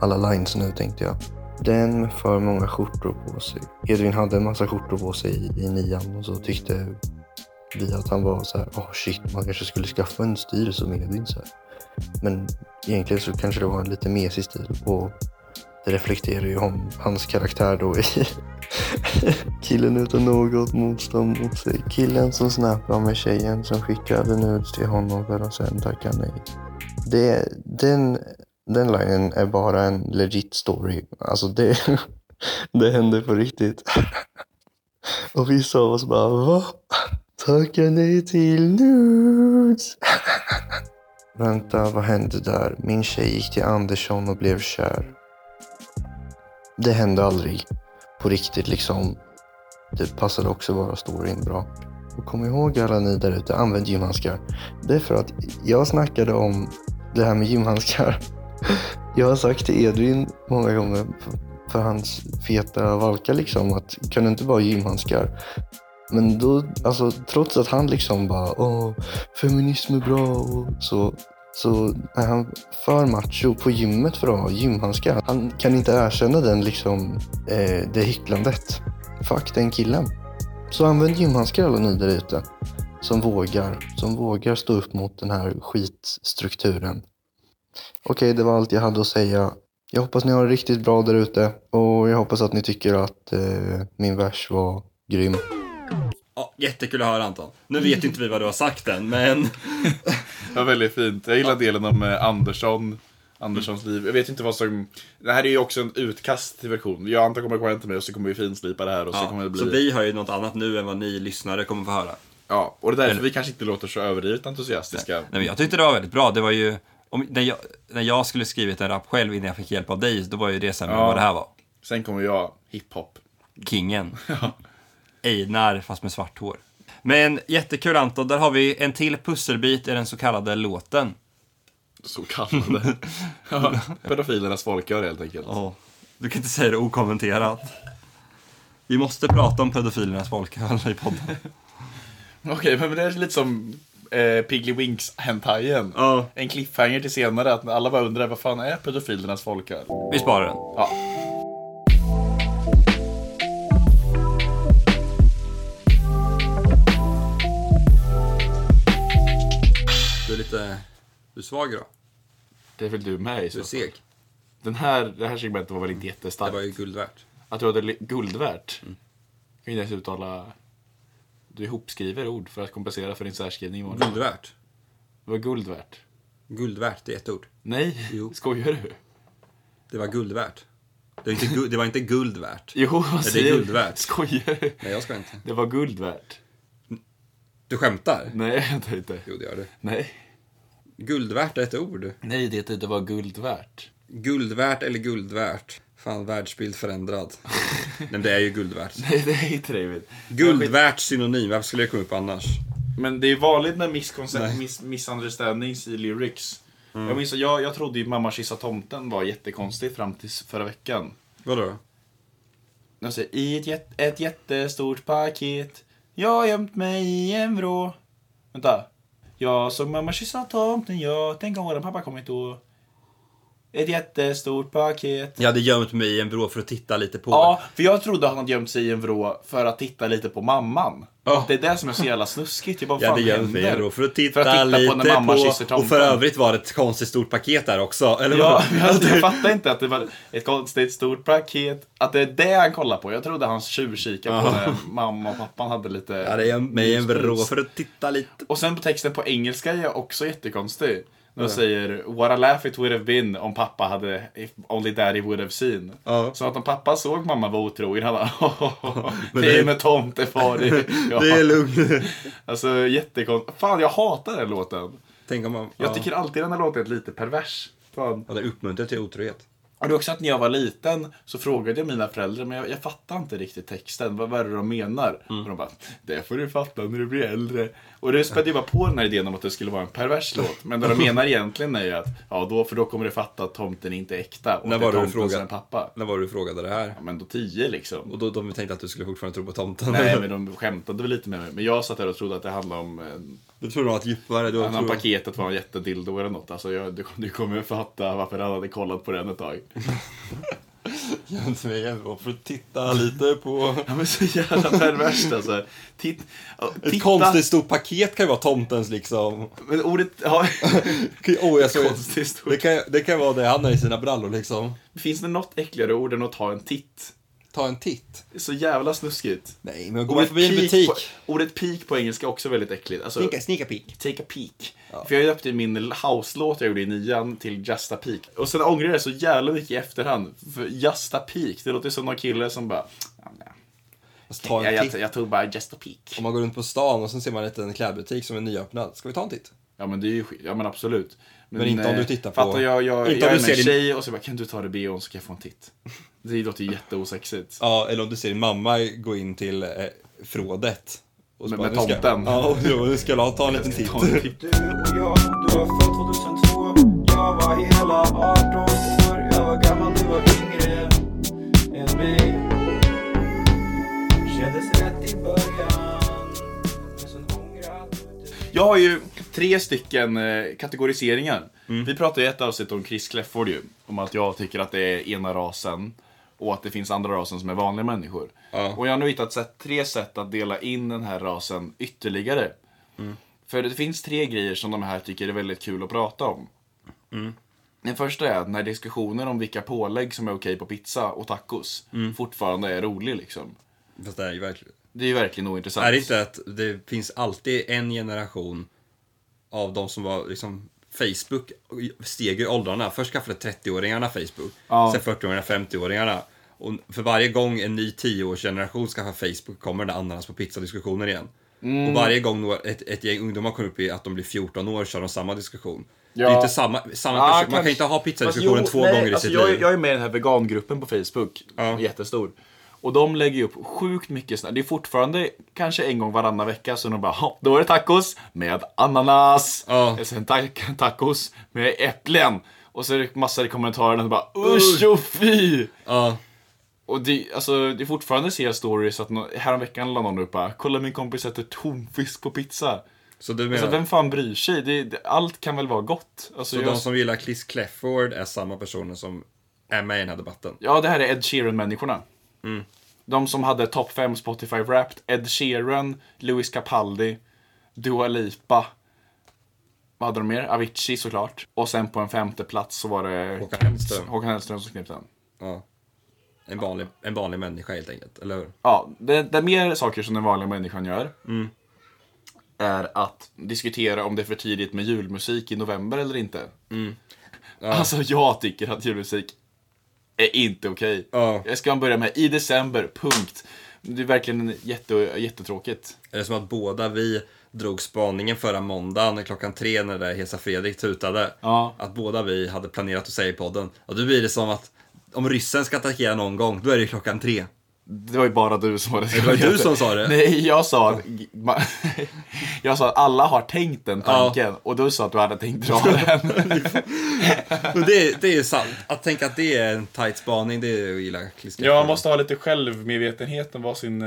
Speaker 7: alla lines nu tänkte jag. Den med för många skjortor på sig. Edvin hade en massa skjortor på sig i, i nian och så tyckte vi att han var så här, åh shit, man kanske skulle skaffa en stil som Edvin så här. Men egentligen så kanske det var en lite mesig stil och det reflekterar ju om hans karaktär då i killen utan något motstånd mot sig. Killen som snappar med tjejen som skickade nudes till honom för att sen tacka nej. Det, den, den linen är bara en legit story. Alltså det, det hände på riktigt. Och vissa av oss bara va? Tackar nej till nudes? Vänta, vad hände där? Min tjej gick till Andersson och blev kär. Det hände aldrig. På riktigt liksom. Det passade också bara storyn bra. Och kom ihåg alla ni där ute, använd gymhandskar. Det är för att jag snackade om det här med gymhandskar. Jag har sagt till Edvin många gånger för- för hans feta valka liksom att kan du inte bara ha gymhandskar? Men då, alltså trots att han liksom bara åh, feminism är bra och så, så är han för macho på gymmet för att ha gymhandskar. Han kan inte erkänna den liksom, eh, det hycklandet. Fuck den killen. Så använd gymhandskar alla ni där ute. Som vågar, som vågar stå upp mot den här skitstrukturen. Okej, det var allt jag hade att säga. Jag hoppas ni har det riktigt bra där ute och jag hoppas att ni tycker att eh, min vers var grym.
Speaker 1: Ja, jättekul att höra Anton. Nu vet inte vi vad du har sagt än, men...
Speaker 2: Det var väldigt fint. Jag gillar delen om eh, Andersson. Anderssons liv. Jag vet inte vad som... Det här är ju också en utkast till version. Jag antar kommer att gå hem till mig och så kommer vi finslipa det här och så kommer det
Speaker 1: Ja,
Speaker 2: bli...
Speaker 1: så vi hör ju något annat nu än vad ni lyssnare kommer få höra.
Speaker 2: Ja, och det är därför vi kanske inte låter så överdrivet entusiastiska.
Speaker 1: Nej, men jag tyckte det var väldigt bra. Det var ju, om, när, jag, när jag skulle skrivit en rap själv innan jag fick hjälp av dig, då var ju det sen
Speaker 2: Ja.
Speaker 1: vad det här var.
Speaker 2: Sen kommer jag, hiphop.
Speaker 1: Kingen. Einar, fast med svart hår. Men jättekul Anton, där har vi en till pusselbit i den så kallade låten.
Speaker 2: Så kallade. ja, pedofilernas folkör helt enkelt.
Speaker 1: Du kan inte säga det okommenterat. Vi måste prata om pedofilernas folkhöll i podden.
Speaker 2: Okej, men det är lite som eh, Piggly Winks hentajen.
Speaker 1: Ja.
Speaker 2: En cliffhanger till senare, att alla bara undrar vad fan är pedofilernas folkör?
Speaker 1: Vi sparar den.
Speaker 2: Ja.
Speaker 1: Du är lite... Du är svag idag.
Speaker 2: Det är väl du med i
Speaker 1: Du är seg.
Speaker 2: Den här, det här segmentet var Mm. väl inte
Speaker 1: Det
Speaker 2: jättestarkt?
Speaker 1: var ju guld värt.
Speaker 2: Att du hade li- guld värt? Jag kan inte ens uttala... Du ihopskriver ord för att kompensera för din särskrivning imorgon.
Speaker 1: Guld värt.
Speaker 2: Det var guld värt.
Speaker 1: Guld värt, det är ett ord.
Speaker 2: Nej,
Speaker 1: Jo.
Speaker 2: skojar du?
Speaker 1: Det var guld värt. Det var inte, gu- det var inte guld värt.
Speaker 2: Jo, vad
Speaker 1: det är
Speaker 2: säger du?
Speaker 1: guld värt.
Speaker 2: Skojar du?
Speaker 1: Nej, jag ska inte.
Speaker 2: Det var guld värt.
Speaker 1: Du skämtar?
Speaker 2: Nej, jag tar inte.
Speaker 1: Jo, det gör du.
Speaker 2: Nej.
Speaker 1: Guld värt är ett ord.
Speaker 2: Nej, det heter det var guld värt.
Speaker 1: Guld värt eller guld värt? Fan, världsbild förändrad. Nej, men det är ju guld värt.
Speaker 2: Nej, det är inte David.
Speaker 1: Guld värt synonym, varför skulle jag komma upp annars?
Speaker 2: Men det är vanligt med misskonsep- miss- misunderstandings i lyrics.
Speaker 1: Mm.
Speaker 2: Jag minns att jag, jag trodde ju Mamma kissa tomten var jättekonstigt fram till förra veckan.
Speaker 1: Vadå?
Speaker 2: De säger i ett, jät- ett jättestort paket Jag har gömt mig i en vrå Vänta. Jag såg mamma kyssa tomten, jag tänk om våran pappa kommit då Ett jättestort paket.
Speaker 1: Jag hade gömt mig i en vrå för att titta lite på.
Speaker 2: Ja, för jag trodde han hade gömt sig i en vrå för att titta lite på mamman.
Speaker 1: Ja.
Speaker 2: Det är det som är så jävla snuskigt. Jag bara,
Speaker 1: Jag
Speaker 2: vad
Speaker 1: hade
Speaker 2: fan
Speaker 1: gömt mig i en
Speaker 2: händer?
Speaker 1: vrå för att titta,
Speaker 2: För att titta
Speaker 1: lite
Speaker 2: på när mamma kysser
Speaker 1: på.
Speaker 2: tomten.
Speaker 1: Och för övrigt var det ett konstigt stort paket där också. Eller
Speaker 2: Ja,
Speaker 1: vad?
Speaker 2: jag, jag fattar inte att det var ett konstigt stort paket. Att det är det han kollar på. Jag trodde han tjuvkikade på när mamma och pappan hade lite...
Speaker 1: Jag hade gömt mig i en vrå för att titta lite.
Speaker 2: Och sen på texten på engelska är också jättekonstig. De säger “What a laugh it would have been om pappa hade, if only daddy would have seen”.
Speaker 1: Ja.
Speaker 2: Så att om pappa såg mamma var otrogen, han bara
Speaker 1: Men
Speaker 2: “Det
Speaker 1: det-
Speaker 2: är med tomtefar”. Det- Ja.
Speaker 1: Det är lugnt.
Speaker 2: Alltså jättekonstigt. Fan, jag hatar den låten.
Speaker 1: Tänk om man...
Speaker 2: Jag
Speaker 1: ja.
Speaker 2: tycker alltid den här låten är lite pervers. Fan.
Speaker 1: Ja, det uppmuntrar till otrohet.
Speaker 2: Och det är också att när jag var liten så frågade jag mina föräldrar, men jag, jag fattar inte riktigt texten. Vad, vad är det de menar?
Speaker 1: Mm.
Speaker 2: Och de bara, det får du fatta när du blir äldre. Och det spädde ju bara på den här idén om att det skulle vara en pervers låt. Men det de menar egentligen är ju att, ja då, för då kommer du fatta att tomten inte är äkta. Och
Speaker 1: När
Speaker 2: att det
Speaker 1: var
Speaker 2: är
Speaker 1: det du
Speaker 2: tomten
Speaker 1: frågade?
Speaker 2: som är pappa.
Speaker 1: När var det du frågade det här?
Speaker 2: Ja, men då tio liksom.
Speaker 1: Och då de tänkte att du skulle fortfarande tro på tomten.
Speaker 2: Nej, men de skämtade väl lite med mig. Men jag satt där och trodde att det handlade om eh,
Speaker 1: Du tror nog att djupare... Du
Speaker 2: Han
Speaker 1: tror...
Speaker 2: har paketet var en jättedildo eller något. Alltså jag, du, du kommer fatta varför han hade kollat på den ett tag.
Speaker 1: Gömt mig i en vrå för att titta lite på...
Speaker 2: Ja men så jävla perverst alltså. Titt, ja,
Speaker 1: Ett
Speaker 2: titta.
Speaker 1: konstigt stort paket kan ju vara tomtens liksom.
Speaker 2: Men ordet, ja,
Speaker 1: Oh, jag såg...
Speaker 2: konstigt stort.
Speaker 1: det, kan, det kan vara det han har i sina brallor liksom.
Speaker 2: Finns det något äckligare ord än att ta en titt?
Speaker 1: Ta en titt.
Speaker 2: Så jävla snuskigt.
Speaker 1: Nej, men går man förbi en
Speaker 2: peek
Speaker 1: butik.
Speaker 2: På, ordet peak på engelska är också väldigt äckligt. Alltså,
Speaker 1: sneaker peek.
Speaker 2: Take a peek. För jag döpte min house-låt jag gjorde i nian till Just a peek. Och sen ångrar jag det så jävla mycket i efterhand. För Just a peek, det låter som någon kille som bara... "Ja, nej.
Speaker 1: Alltså, ta en
Speaker 2: Jag, jag,
Speaker 1: titt.
Speaker 2: jag tog bara Just a peek.
Speaker 1: Om man går runt på stan och sen ser man en liten klädbutik som är nyöppnad. Ska vi ta en titt?
Speaker 2: Ja men det är ju skit. Ja men absolut.
Speaker 1: Men inte om
Speaker 2: eh,
Speaker 1: du tittar på-
Speaker 2: Fattar jag, jag,
Speaker 1: inte om
Speaker 2: jag är
Speaker 1: du
Speaker 2: med
Speaker 1: ser
Speaker 2: en
Speaker 1: din-
Speaker 2: tjej och så bara kan du ta det bhn så kan jag få en titt. Det låter ju jätteosexigt.
Speaker 1: Ja, eller om du ser din mamma gå in till eh, frådet. Och så
Speaker 2: Med- med
Speaker 1: "Nu ska-
Speaker 2: tomten."
Speaker 1: Ja, och jo, nu ska jag ta en liten titt.
Speaker 2: Ta en titt.
Speaker 8: Du och jag, du var född 2002 Jag var hela 18 år Jag var gammal, du var yngre än mig Kändes rätt i början Men sen ångrar du dig
Speaker 2: Jag har ju tre stycken eh, kategoriseringar.
Speaker 8: Mm.
Speaker 2: Vi pratade ju i ett avsnitt om Chris Clefford ju. Om att jag tycker att det är ena rasen och att det finns andra rasen som är vanliga människor.
Speaker 1: Ja.
Speaker 2: Och jag har nu hittat sätt, tre sätt att dela in den här rasen ytterligare. För det finns tre grejer som de här tycker är väldigt kul att prata om.
Speaker 1: Mm.
Speaker 2: Den första är att när diskussioner om vilka pålägg som är okej på pizza och tacos
Speaker 1: Mm.
Speaker 2: fortfarande är rolig liksom.
Speaker 1: Fast det är ju verkligen...
Speaker 2: Det är ju verkligen ointressant.
Speaker 1: Är det inte att det finns alltid en generation av de som var liksom Facebook steg i åldrarna. Först skaffade 30-åringarna Facebook,
Speaker 2: Ja.
Speaker 1: sen 40-åringarna, 50-åringarna. Och för varje gång en ny 10-årsgeneration skaffar Facebook kommer den ananas på pizzadiskussioner igen.
Speaker 2: Mm.
Speaker 1: Och varje gång några- ett, ett gäng ungdomar kommer upp i att de blir 14 år kör de samma diskussion. Det är
Speaker 2: Ja.
Speaker 1: inte samma, samma
Speaker 2: Ja,
Speaker 1: person. Man
Speaker 2: kanske.
Speaker 1: kan inte ha
Speaker 2: Fast
Speaker 1: pizzadiskussionen
Speaker 2: jo,
Speaker 1: två
Speaker 2: nej,
Speaker 1: gånger i
Speaker 2: alltså
Speaker 1: sitt
Speaker 2: jag,
Speaker 1: liv.
Speaker 2: Jag är med i den här vegangruppen på Facebook.
Speaker 1: Ja.
Speaker 2: Jättestor. Och de lägger ju upp sjukt mycket såna. Det är fortfarande kanske en gång varannan vecka så de bara "Ha, då är det tacos med ananas.
Speaker 1: Ja.
Speaker 2: Och sen ta tacos med äpplen. Och så är det massor i kommentarerna som bara usch och fy.
Speaker 1: Ja.
Speaker 2: Och det, alltså, det är fortfarande ser jag stories att nå- häromveckan la någon upp bara kolla min kompis äter tonfisk på pizza.
Speaker 1: Så du
Speaker 2: Alltså,
Speaker 1: menar,
Speaker 2: vem fan bryr sig? Det, det, allt kan väl vara gott? Alltså,
Speaker 1: så
Speaker 2: jag-
Speaker 1: de som gillar Chris Clefford är samma personer som är med i den här debatten?
Speaker 2: Ja, det här är Ed Sheeran-människorna.
Speaker 1: Mm.
Speaker 2: De som hade topp 5 Spotify Wrapped, Ed Sheeran, Louis Capaldi, Dua Lipa. Vad hade de mer? Avicii såklart. Och sen på en femte plats så var det
Speaker 1: Håkan Hellström.
Speaker 2: Håkan Hellström som knep den.
Speaker 1: Ja. En vanlig, en vanlig människa helt enkelt, eller hur?
Speaker 2: Ja, det, det är mer saker som den vanliga människan gör.
Speaker 1: Mm.
Speaker 2: Är att diskutera om det är för tidigt med julmusik i november eller inte.
Speaker 1: Mm.
Speaker 2: Alltså jag tycker att julmusik är inte okej.
Speaker 1: Ja.
Speaker 2: Jag ska börja med i december, punkt. Det är verkligen jätte, jättetråkigt.
Speaker 1: Är det som att båda vi drog spaningen förra måndagen klockan tre när det där Hesa Fredrik tutade?
Speaker 2: Ja.
Speaker 1: Att båda vi hade planerat att säga i podden. Och då blir det som att om ryssen ska attackera någon gång, då är det klockan tre.
Speaker 2: Det var ju bara du som hade
Speaker 1: var du som sa det.
Speaker 2: Nej, jag sa att, jag sa att alla har tänkt den tanken. Och du sa att du hade tänkt dra den.
Speaker 1: Och det, det är sant. Att tänka att det är en tight spaning, det är att gilla klisterfrågor. eh,
Speaker 2: ha lite självmedvetenhet om vad sin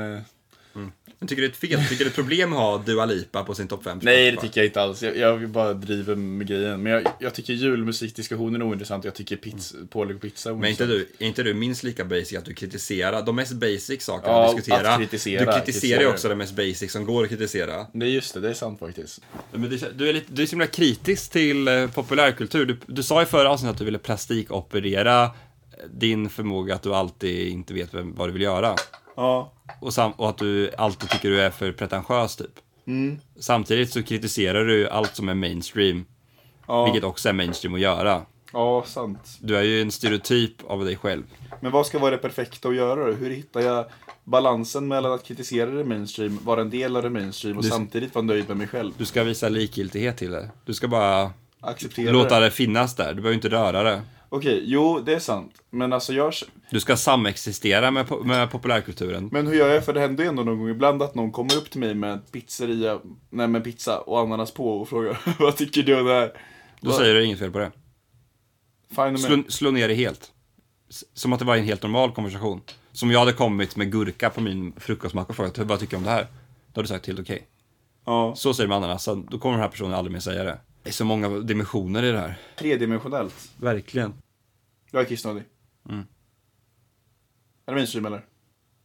Speaker 1: Men tycker du det är ett fel? Tycker du det är ett problem att ha Dua Lipa på sin topp 5?
Speaker 2: Nej, det tycker jag inte alls. Jag, jag bara driver med grejen. Men jag, jag tycker julmusikdiskussionen är ointressant och jag tycker pizza, pålägg och pizza är
Speaker 1: Men är inte
Speaker 2: ointressant.
Speaker 1: du, är inte du minst lika basic att du kritiserar de mest basic sakerna
Speaker 2: Ja,
Speaker 1: att diskutera?
Speaker 2: att kritisera,
Speaker 1: du kritiserar
Speaker 2: kritiserar.
Speaker 1: ju också det mest basic som går att kritisera.
Speaker 2: Nej, just det. Det är sant faktiskt.
Speaker 1: Men du, du är lite, du är så himla kritisk till eh, populärkultur. Du, du sa i förra avsnittet att du ville plastikoperera eh, din förmåga att du alltid inte vet vem, vad du vill göra.
Speaker 2: Ja.
Speaker 1: Och, sam, och att du alltid tycker du är för pretentiös typ.
Speaker 2: Mm.
Speaker 1: Samtidigt så kritiserar du allt som är mainstream,
Speaker 2: Ja,
Speaker 1: vilket också är mainstream att göra.
Speaker 2: ja, sant.
Speaker 1: Du är ju en stereotyp av dig själv.
Speaker 2: Men vad ska vara det perfekta att göra då? Hur hittar jag balansen mellan att kritisera det mainstream, vara en del av det mainstream och
Speaker 1: Du-
Speaker 2: samtidigt vara nöjd med mig själv?
Speaker 1: Du ska visa likgiltighet till det. Du ska bara
Speaker 2: Acceptera
Speaker 1: låta
Speaker 2: det.
Speaker 1: det finnas där. Du behöver inte röra det.
Speaker 2: Okej, jo, det är sant. Men alltså, jag...
Speaker 1: Du ska samexistera med, po- med populärkulturen.
Speaker 2: Men hur gör jag? För det händer ju ändå någon gång ibland att någon kommer upp till mig med en pizzeria, nej med pizza och ananas på och frågar vad tycker du om det här?
Speaker 1: Då säger du inget fel på det.
Speaker 2: Fine med.
Speaker 1: Slå, slå ner det helt. S- Som att det var en helt normal konversation. Som jag hade kommit med gurka på min frukostmacka och frågat vad tycker du om det här? Då hade du sagt helt okej.
Speaker 2: Ja.
Speaker 1: Så säger man ananasen, då kommer den här personen aldrig mer säga det. Det är så många dimensioner i det här.
Speaker 2: Tredimensionellt.
Speaker 1: Verkligen.
Speaker 2: Jag är kissnödig.
Speaker 1: Mm.
Speaker 2: Är det mainstream eller?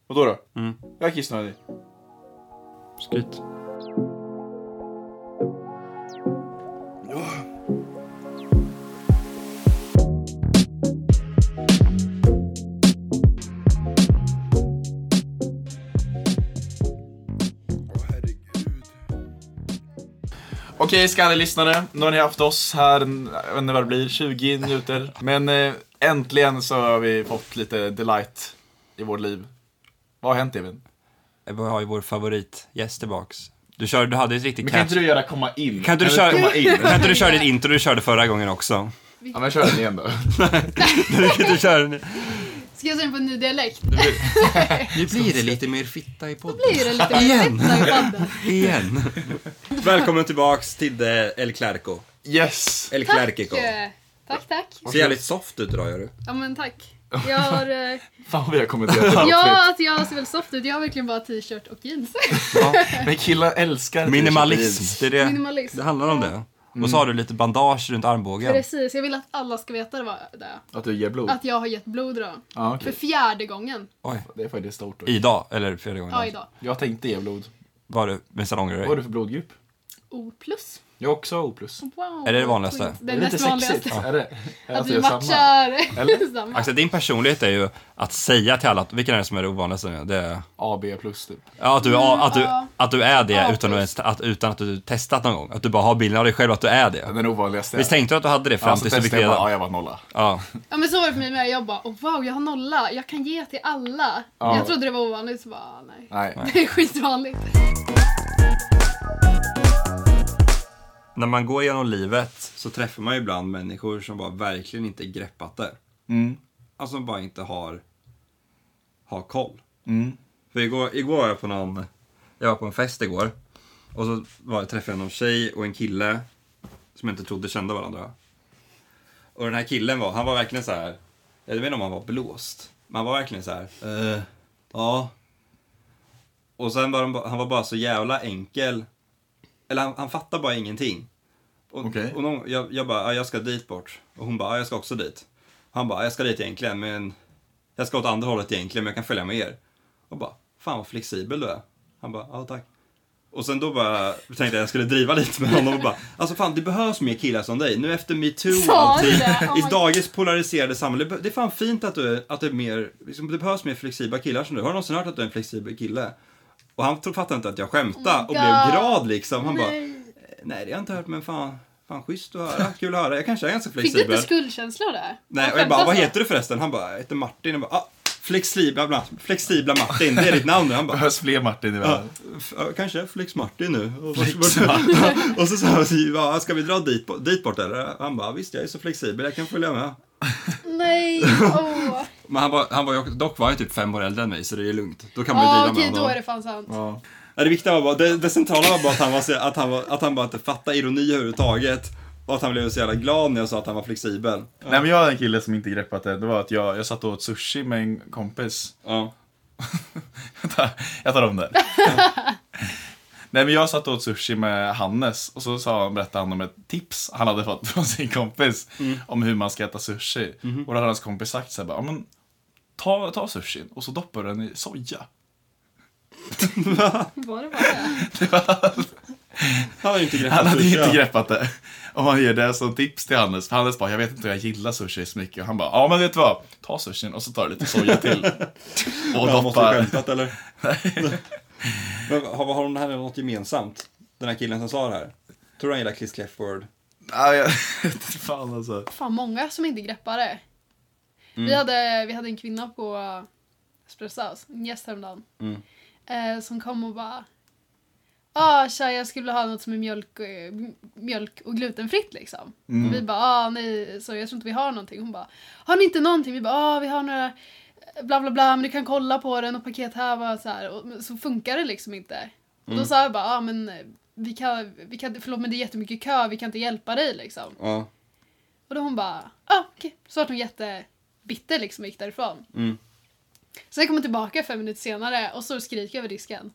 Speaker 2: Och då då?
Speaker 1: Mm.
Speaker 2: Jag är kissnödig.
Speaker 1: Skryt.
Speaker 2: Okej skallelyssnare, nu har ni haft oss här, en- jag vet inte vad det blir, 20 minuter. Men eh, äntligen så har vi fått lite delight i vårt liv. Vad har hänt Evin?
Speaker 1: Vi har ju vår favoritgäst tillbaks. Du, körde, du hade ett riktigt
Speaker 2: Men kan inte du göra komma in?
Speaker 1: Kan inte du
Speaker 2: Kan
Speaker 1: köra,
Speaker 2: komma in?
Speaker 1: kan inte du köra ditt intro du körde förra gången också?
Speaker 2: Ja men kör den igen då.
Speaker 1: Kan du köra den?
Speaker 9: Ska jag säga den på en ny dialekt?
Speaker 1: Nu blir det lite mer fitta i podden.
Speaker 9: Blir det lite mer fett i podden?
Speaker 1: Igen. Välkommen tillbaks till det El Clerco.
Speaker 2: Yes!
Speaker 1: El
Speaker 9: Tack!
Speaker 1: Clercico.
Speaker 9: eh, Tack, tack.
Speaker 1: Ser jävligt soft ut idag gör du.
Speaker 9: Ja men tack. Jag har... eh,
Speaker 2: Fan vad vi har kommenterat det.
Speaker 9: Ja, alltså jag ser väl soft ut. Jag har verkligen bara t-shirt och jeans.
Speaker 2: Men killar älskar t-shirt
Speaker 1: Minimalism. typ Det, är det,
Speaker 9: Minimalism.
Speaker 1: det handlar om det. Och så har du lite bandage runt armbågen.
Speaker 9: Precis, jag vill att alla ska veta vad det är.
Speaker 2: Att du ger blod?
Speaker 9: Att jag har gett blod idag.
Speaker 2: Oh. Ja
Speaker 9: För
Speaker 2: okej.
Speaker 9: fjärde gången.
Speaker 1: Oj.
Speaker 2: Det är faktiskt stort. då.
Speaker 1: Idag, eller förra gången.
Speaker 9: Ja, idag.
Speaker 2: Jag tänkte ge blod.
Speaker 1: Var du med
Speaker 2: Vad har
Speaker 1: salongröj?
Speaker 2: du för blodgrupp?
Speaker 9: O plus.
Speaker 2: Jag har också O+. plus.
Speaker 9: Wow.
Speaker 1: Är det det vanligaste?
Speaker 9: Det
Speaker 2: är
Speaker 9: är
Speaker 2: lite
Speaker 9: näst vanligaste.
Speaker 2: sexigt. Är det? Är det
Speaker 9: Att
Speaker 2: alltså
Speaker 9: vi
Speaker 2: jag är samma? Eller?
Speaker 9: matchar samma.
Speaker 1: Axel, Alltså, din personlighet är ju att säga till alla att vilken är det som är det ovanligaste nu? Det är,
Speaker 2: AB plus typ.
Speaker 1: ja, att, du, är- att, du,
Speaker 9: Mm, ja.
Speaker 1: att du är det
Speaker 9: Ja,
Speaker 1: utan, att,
Speaker 9: precis.
Speaker 1: ens- att, utan att du testat någon gång. Att du bara har bilden av dig själv att du är det.
Speaker 2: Den ovanligaste.
Speaker 1: Visst tänkte du att du hade det fram
Speaker 2: Ja, så
Speaker 1: tills du fick
Speaker 2: testade jag
Speaker 1: reda
Speaker 2: bara, ja jag var nolla.
Speaker 1: Ja.
Speaker 9: Ja men så var det för mig med. Jag bara oh, wow jag har nolla. Jag kan ge till alla.
Speaker 2: Ja.
Speaker 9: Jag trodde det var ovanligt så bara "Ah, nej.
Speaker 2: Nej.
Speaker 9: Det är skitvanligt.
Speaker 1: När man går genom livet så träffar man ju ibland människor som bara verkligen inte greppat det.
Speaker 2: Mm.
Speaker 1: Alltså som bara inte har, har koll.
Speaker 2: Mm.
Speaker 1: För igår, igår var jag på någon, jag var på en fest igår. Och så var, träffade jag någon tjej och en kille som jag inte trodde kände varandra. Och den här killen var, han var verkligen så här. jag vet inte om han var blåst. Men han var verkligen så här. eh, ja. Och sen var han, ba- han var bara så jävla enkel. Eller han, han fattar bara ingenting. Och,
Speaker 2: Okej.
Speaker 1: och någon, jag, jag bara, ja, jag ska dit bort. Och hon bara, ja, jag ska också dit. Han bara, "Ah, jag ska dit egentligen men jag ska åt andra hållet egentligen men jag kan följa med er. Och bara, fan vad flexibel du är. Han bara, ja tack. Och sen då bara tänkte jag jag skulle driva lite med honom och bara, alltså fan det behövs mer killar som dig. Nu efter metoo och
Speaker 9: Sa du
Speaker 1: allting,
Speaker 9: det? Oh my
Speaker 1: i dagens polariserade samhälle, det är fan fint att du, att det, är mer, liksom, det behövs mer flexibla killar som du. Har du någonsin hört att du är en flexibel kille? Och han tro- fattade inte att jag skämtade och blev
Speaker 9: Oh God.
Speaker 1: glad liksom. Han bara,
Speaker 9: Nej.
Speaker 1: nej det har jag inte hört men fan, fan schysst att höra, kul att höra. Jag kanske är ganska
Speaker 9: Fick
Speaker 1: flexibel.
Speaker 9: du inte skuldkänslor där?
Speaker 1: Nej, och jag bara, vad heter du förresten? Han bara, jag heter Martin. Jag bara, ah, flexibla, Ma- flexibla Martin, det är ditt namn nu. Han bara,
Speaker 2: Behövs fler Martin i
Speaker 1: "Ja,
Speaker 2: världen.
Speaker 1: f- ja, kanske är Flex Martin nu. Och, vart- och så sa han, "Ja, ska vi dra dit, bo- dit bort eller? Han bara, visst jag är så flexibel, jag kan följa med.
Speaker 9: Nej, åh.
Speaker 1: Men han var, han var, ju- dock var han ju typ fem år äldre än mig, så det är lugnt. Då kan man ju
Speaker 9: Ja
Speaker 1: driva
Speaker 9: okej,
Speaker 1: med
Speaker 9: då är
Speaker 1: honom.
Speaker 9: det fan sant.
Speaker 2: Ja.
Speaker 1: Nej, Det viktiga var bara, det, det centrala var bara att han, var, så- att, han var, att han bara inte fattade ironi överhuvudtaget. Och att han blev så jävla glad när jag sa att han var flexibel.
Speaker 2: Nej men jag är en kille som inte greppat det. Det var att jag, jag satt och åt sushi med en kompis.
Speaker 1: Ja.
Speaker 2: jag tar om det. Nej men jag satt och åt sushi med Hannes och så sa han, berättade han om ett tips han hade fått från sin kompis om hur man ska äta sushi. Och då hade hans kompis sagt så här, bara, "Ja, men ta, ta sushin och så doppar du den i soja.
Speaker 9: Var det bara det?
Speaker 1: Han har ju inte greppat
Speaker 2: Han hade ju
Speaker 1: sushi,
Speaker 2: inte
Speaker 1: ja.
Speaker 2: greppat det. Om man ger det som tips till Hannes. För Hannes bara, jag vet inte om jag gillar sushi så mycket. Och han bara, ja men vet du vad? Ta sushin och så tar du lite soja till. Och
Speaker 1: Han måste ha
Speaker 2: doppar.
Speaker 1: skämtat eller? Men har, har de här något gemensamt? Den här killen som sa det här? Tror du han gillar Chris Clifford?
Speaker 2: Nej, jag Fan alltså.
Speaker 9: Fan, många som inte greppar det. Vi, hade, vi hade en kvinna på eh, Espresso House, en gäst häromdagen, eh, som kom och bara Ah, tja, jag skulle vilja ha något som är mjölk, och- m- mjölk och glutenfritt liksom. Och vi bara, ah, nej, så jag tror inte vi har någonting. Hon bara, har ni inte någonting? Vi bara, ah, vi har några bla bla bla, men du kan kolla på den och paket här var så här. Och, men så funkar det liksom inte. Och då sa jag bara, ah, men vi kan, vi kan, förlåt men det är jättemycket kö, vi kan inte hjälpa dig liksom.
Speaker 1: Ja.
Speaker 9: Och då hon bara, ah, okej. Så vart hon jättebitter liksom och gick därifrån.
Speaker 1: Mm.
Speaker 9: Sen kom hon tillbaka fem minuter senare och så skriker jag över disken.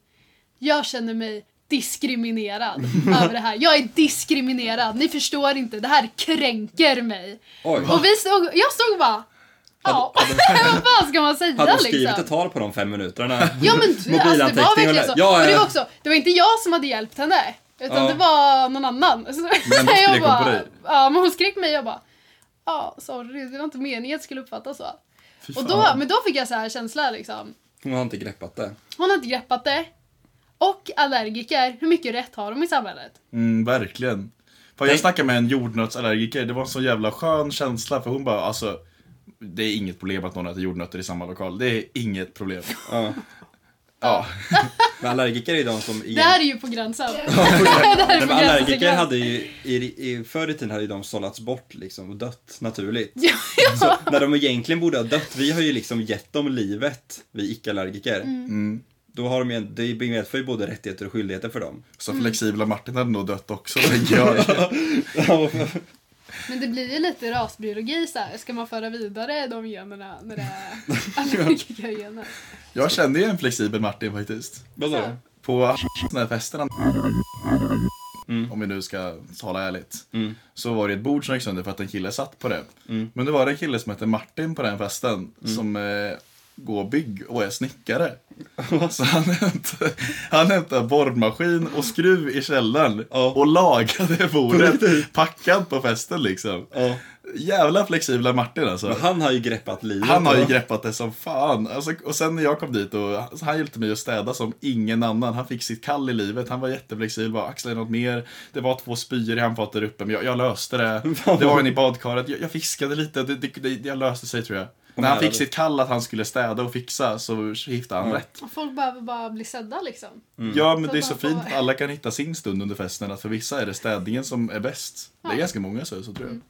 Speaker 9: Jag känner mig diskriminerad över det här. Jag är diskriminerad, ni förstår inte. Det här kränker mig.
Speaker 1: Oj.
Speaker 9: Och vi stod, jag stod och bara, ja, vad fan ska man säga
Speaker 1: Hade hon
Speaker 9: liksom?
Speaker 1: skrivit ett tal på de fem minuterna?
Speaker 9: Ja men du, alltså, det var verkligen så.
Speaker 1: Ja,
Speaker 9: och det
Speaker 1: ja.
Speaker 9: var också, det var inte jag som hade hjälpt henne. Utan
Speaker 1: Ja.
Speaker 9: det var någon annan. Så,
Speaker 2: Men
Speaker 9: jag
Speaker 2: skrek hon
Speaker 9: bara-
Speaker 2: på dig?
Speaker 9: Ja, men hon skrek på mig och jag bara Ja, sorry, det var inte meningen att det skulle uppfattas så. Och då, men då fick jag så här känsla liksom.
Speaker 1: Hon har inte greppat det.
Speaker 9: Hon har inte greppat det. Och allergiker, hur mycket rätt har de i samhället?
Speaker 2: Mm, verkligen. Fan, jag
Speaker 1: Tänk-
Speaker 2: snackade med en jordnötsallergiker. Det var en så jävla skön känsla för hon bara, alltså. Det är inget problem att någon äter jordnötter i samma lokal. Det är inget problem.
Speaker 1: Ja.
Speaker 2: Ja.
Speaker 1: Men allergiker är ju de som...
Speaker 9: Det här är ju på gränsen. det här
Speaker 1: Nej, men
Speaker 9: är på gränsen till
Speaker 1: allergiker
Speaker 9: gräns.
Speaker 1: hade ju, i, i, förr i tiden hade ju de sållats bort liksom och dött naturligt.
Speaker 9: Ja, ja.
Speaker 1: Så, när de egentligen borde ha dött, vi har ju liksom gett dem livet, vi icke-allergiker.
Speaker 2: Mm.
Speaker 1: Då har de ju, det medför ju både rättigheter och skyldigheter för dem.
Speaker 2: Så flexibla Martin hade nog dött också, tänker jag.
Speaker 9: Men det blir ju lite rasbiologi så här. Ska man föra vidare de generna när det är allergikergener?
Speaker 2: Jag kände ju en flexibel Martin faktiskt.
Speaker 1: Vad sa du?
Speaker 2: På den här festen han- Om vi nu ska tala ärligt. Så var det ett bord som gick sönder för att en kille satt på det. Men det var en kille som hette Martin på den festen. Som eh, går bygg och är snickare. Så han hämtade, han hämtade borrmaskin och skruv i källaren. Och lagade bordet. Packad på festen liksom.
Speaker 1: Ja.
Speaker 2: Jävla flexibla Martin alltså.
Speaker 1: Han har ju greppat livet.
Speaker 2: Han har ju
Speaker 1: va?
Speaker 2: greppat det som fan. Alltså, och sen när jag kom dit och alltså, han hjälpte mig att städa som ingen annan. Han fick sitt kall i livet. Han var jätteflexibel. Bara axlade något mer. Det var två spyor i handfatet där uppe, men jag, jag löste det. Det var en i badkaret. Jag, jag fiskade lite. Det, det, det, jag löste sig tror jag. När han
Speaker 1: jävlar.
Speaker 2: fick sitt kall att han skulle städa och fixa så hittade han rätt.
Speaker 9: Och Folk behöver bara bli sedda liksom.
Speaker 2: Ja, men det är så
Speaker 9: Så
Speaker 2: fint
Speaker 9: bara-
Speaker 2: att alla kan hitta sin stund under festen. Att för vissa är det städningen som är bäst. Det är ganska många så, så tror jag.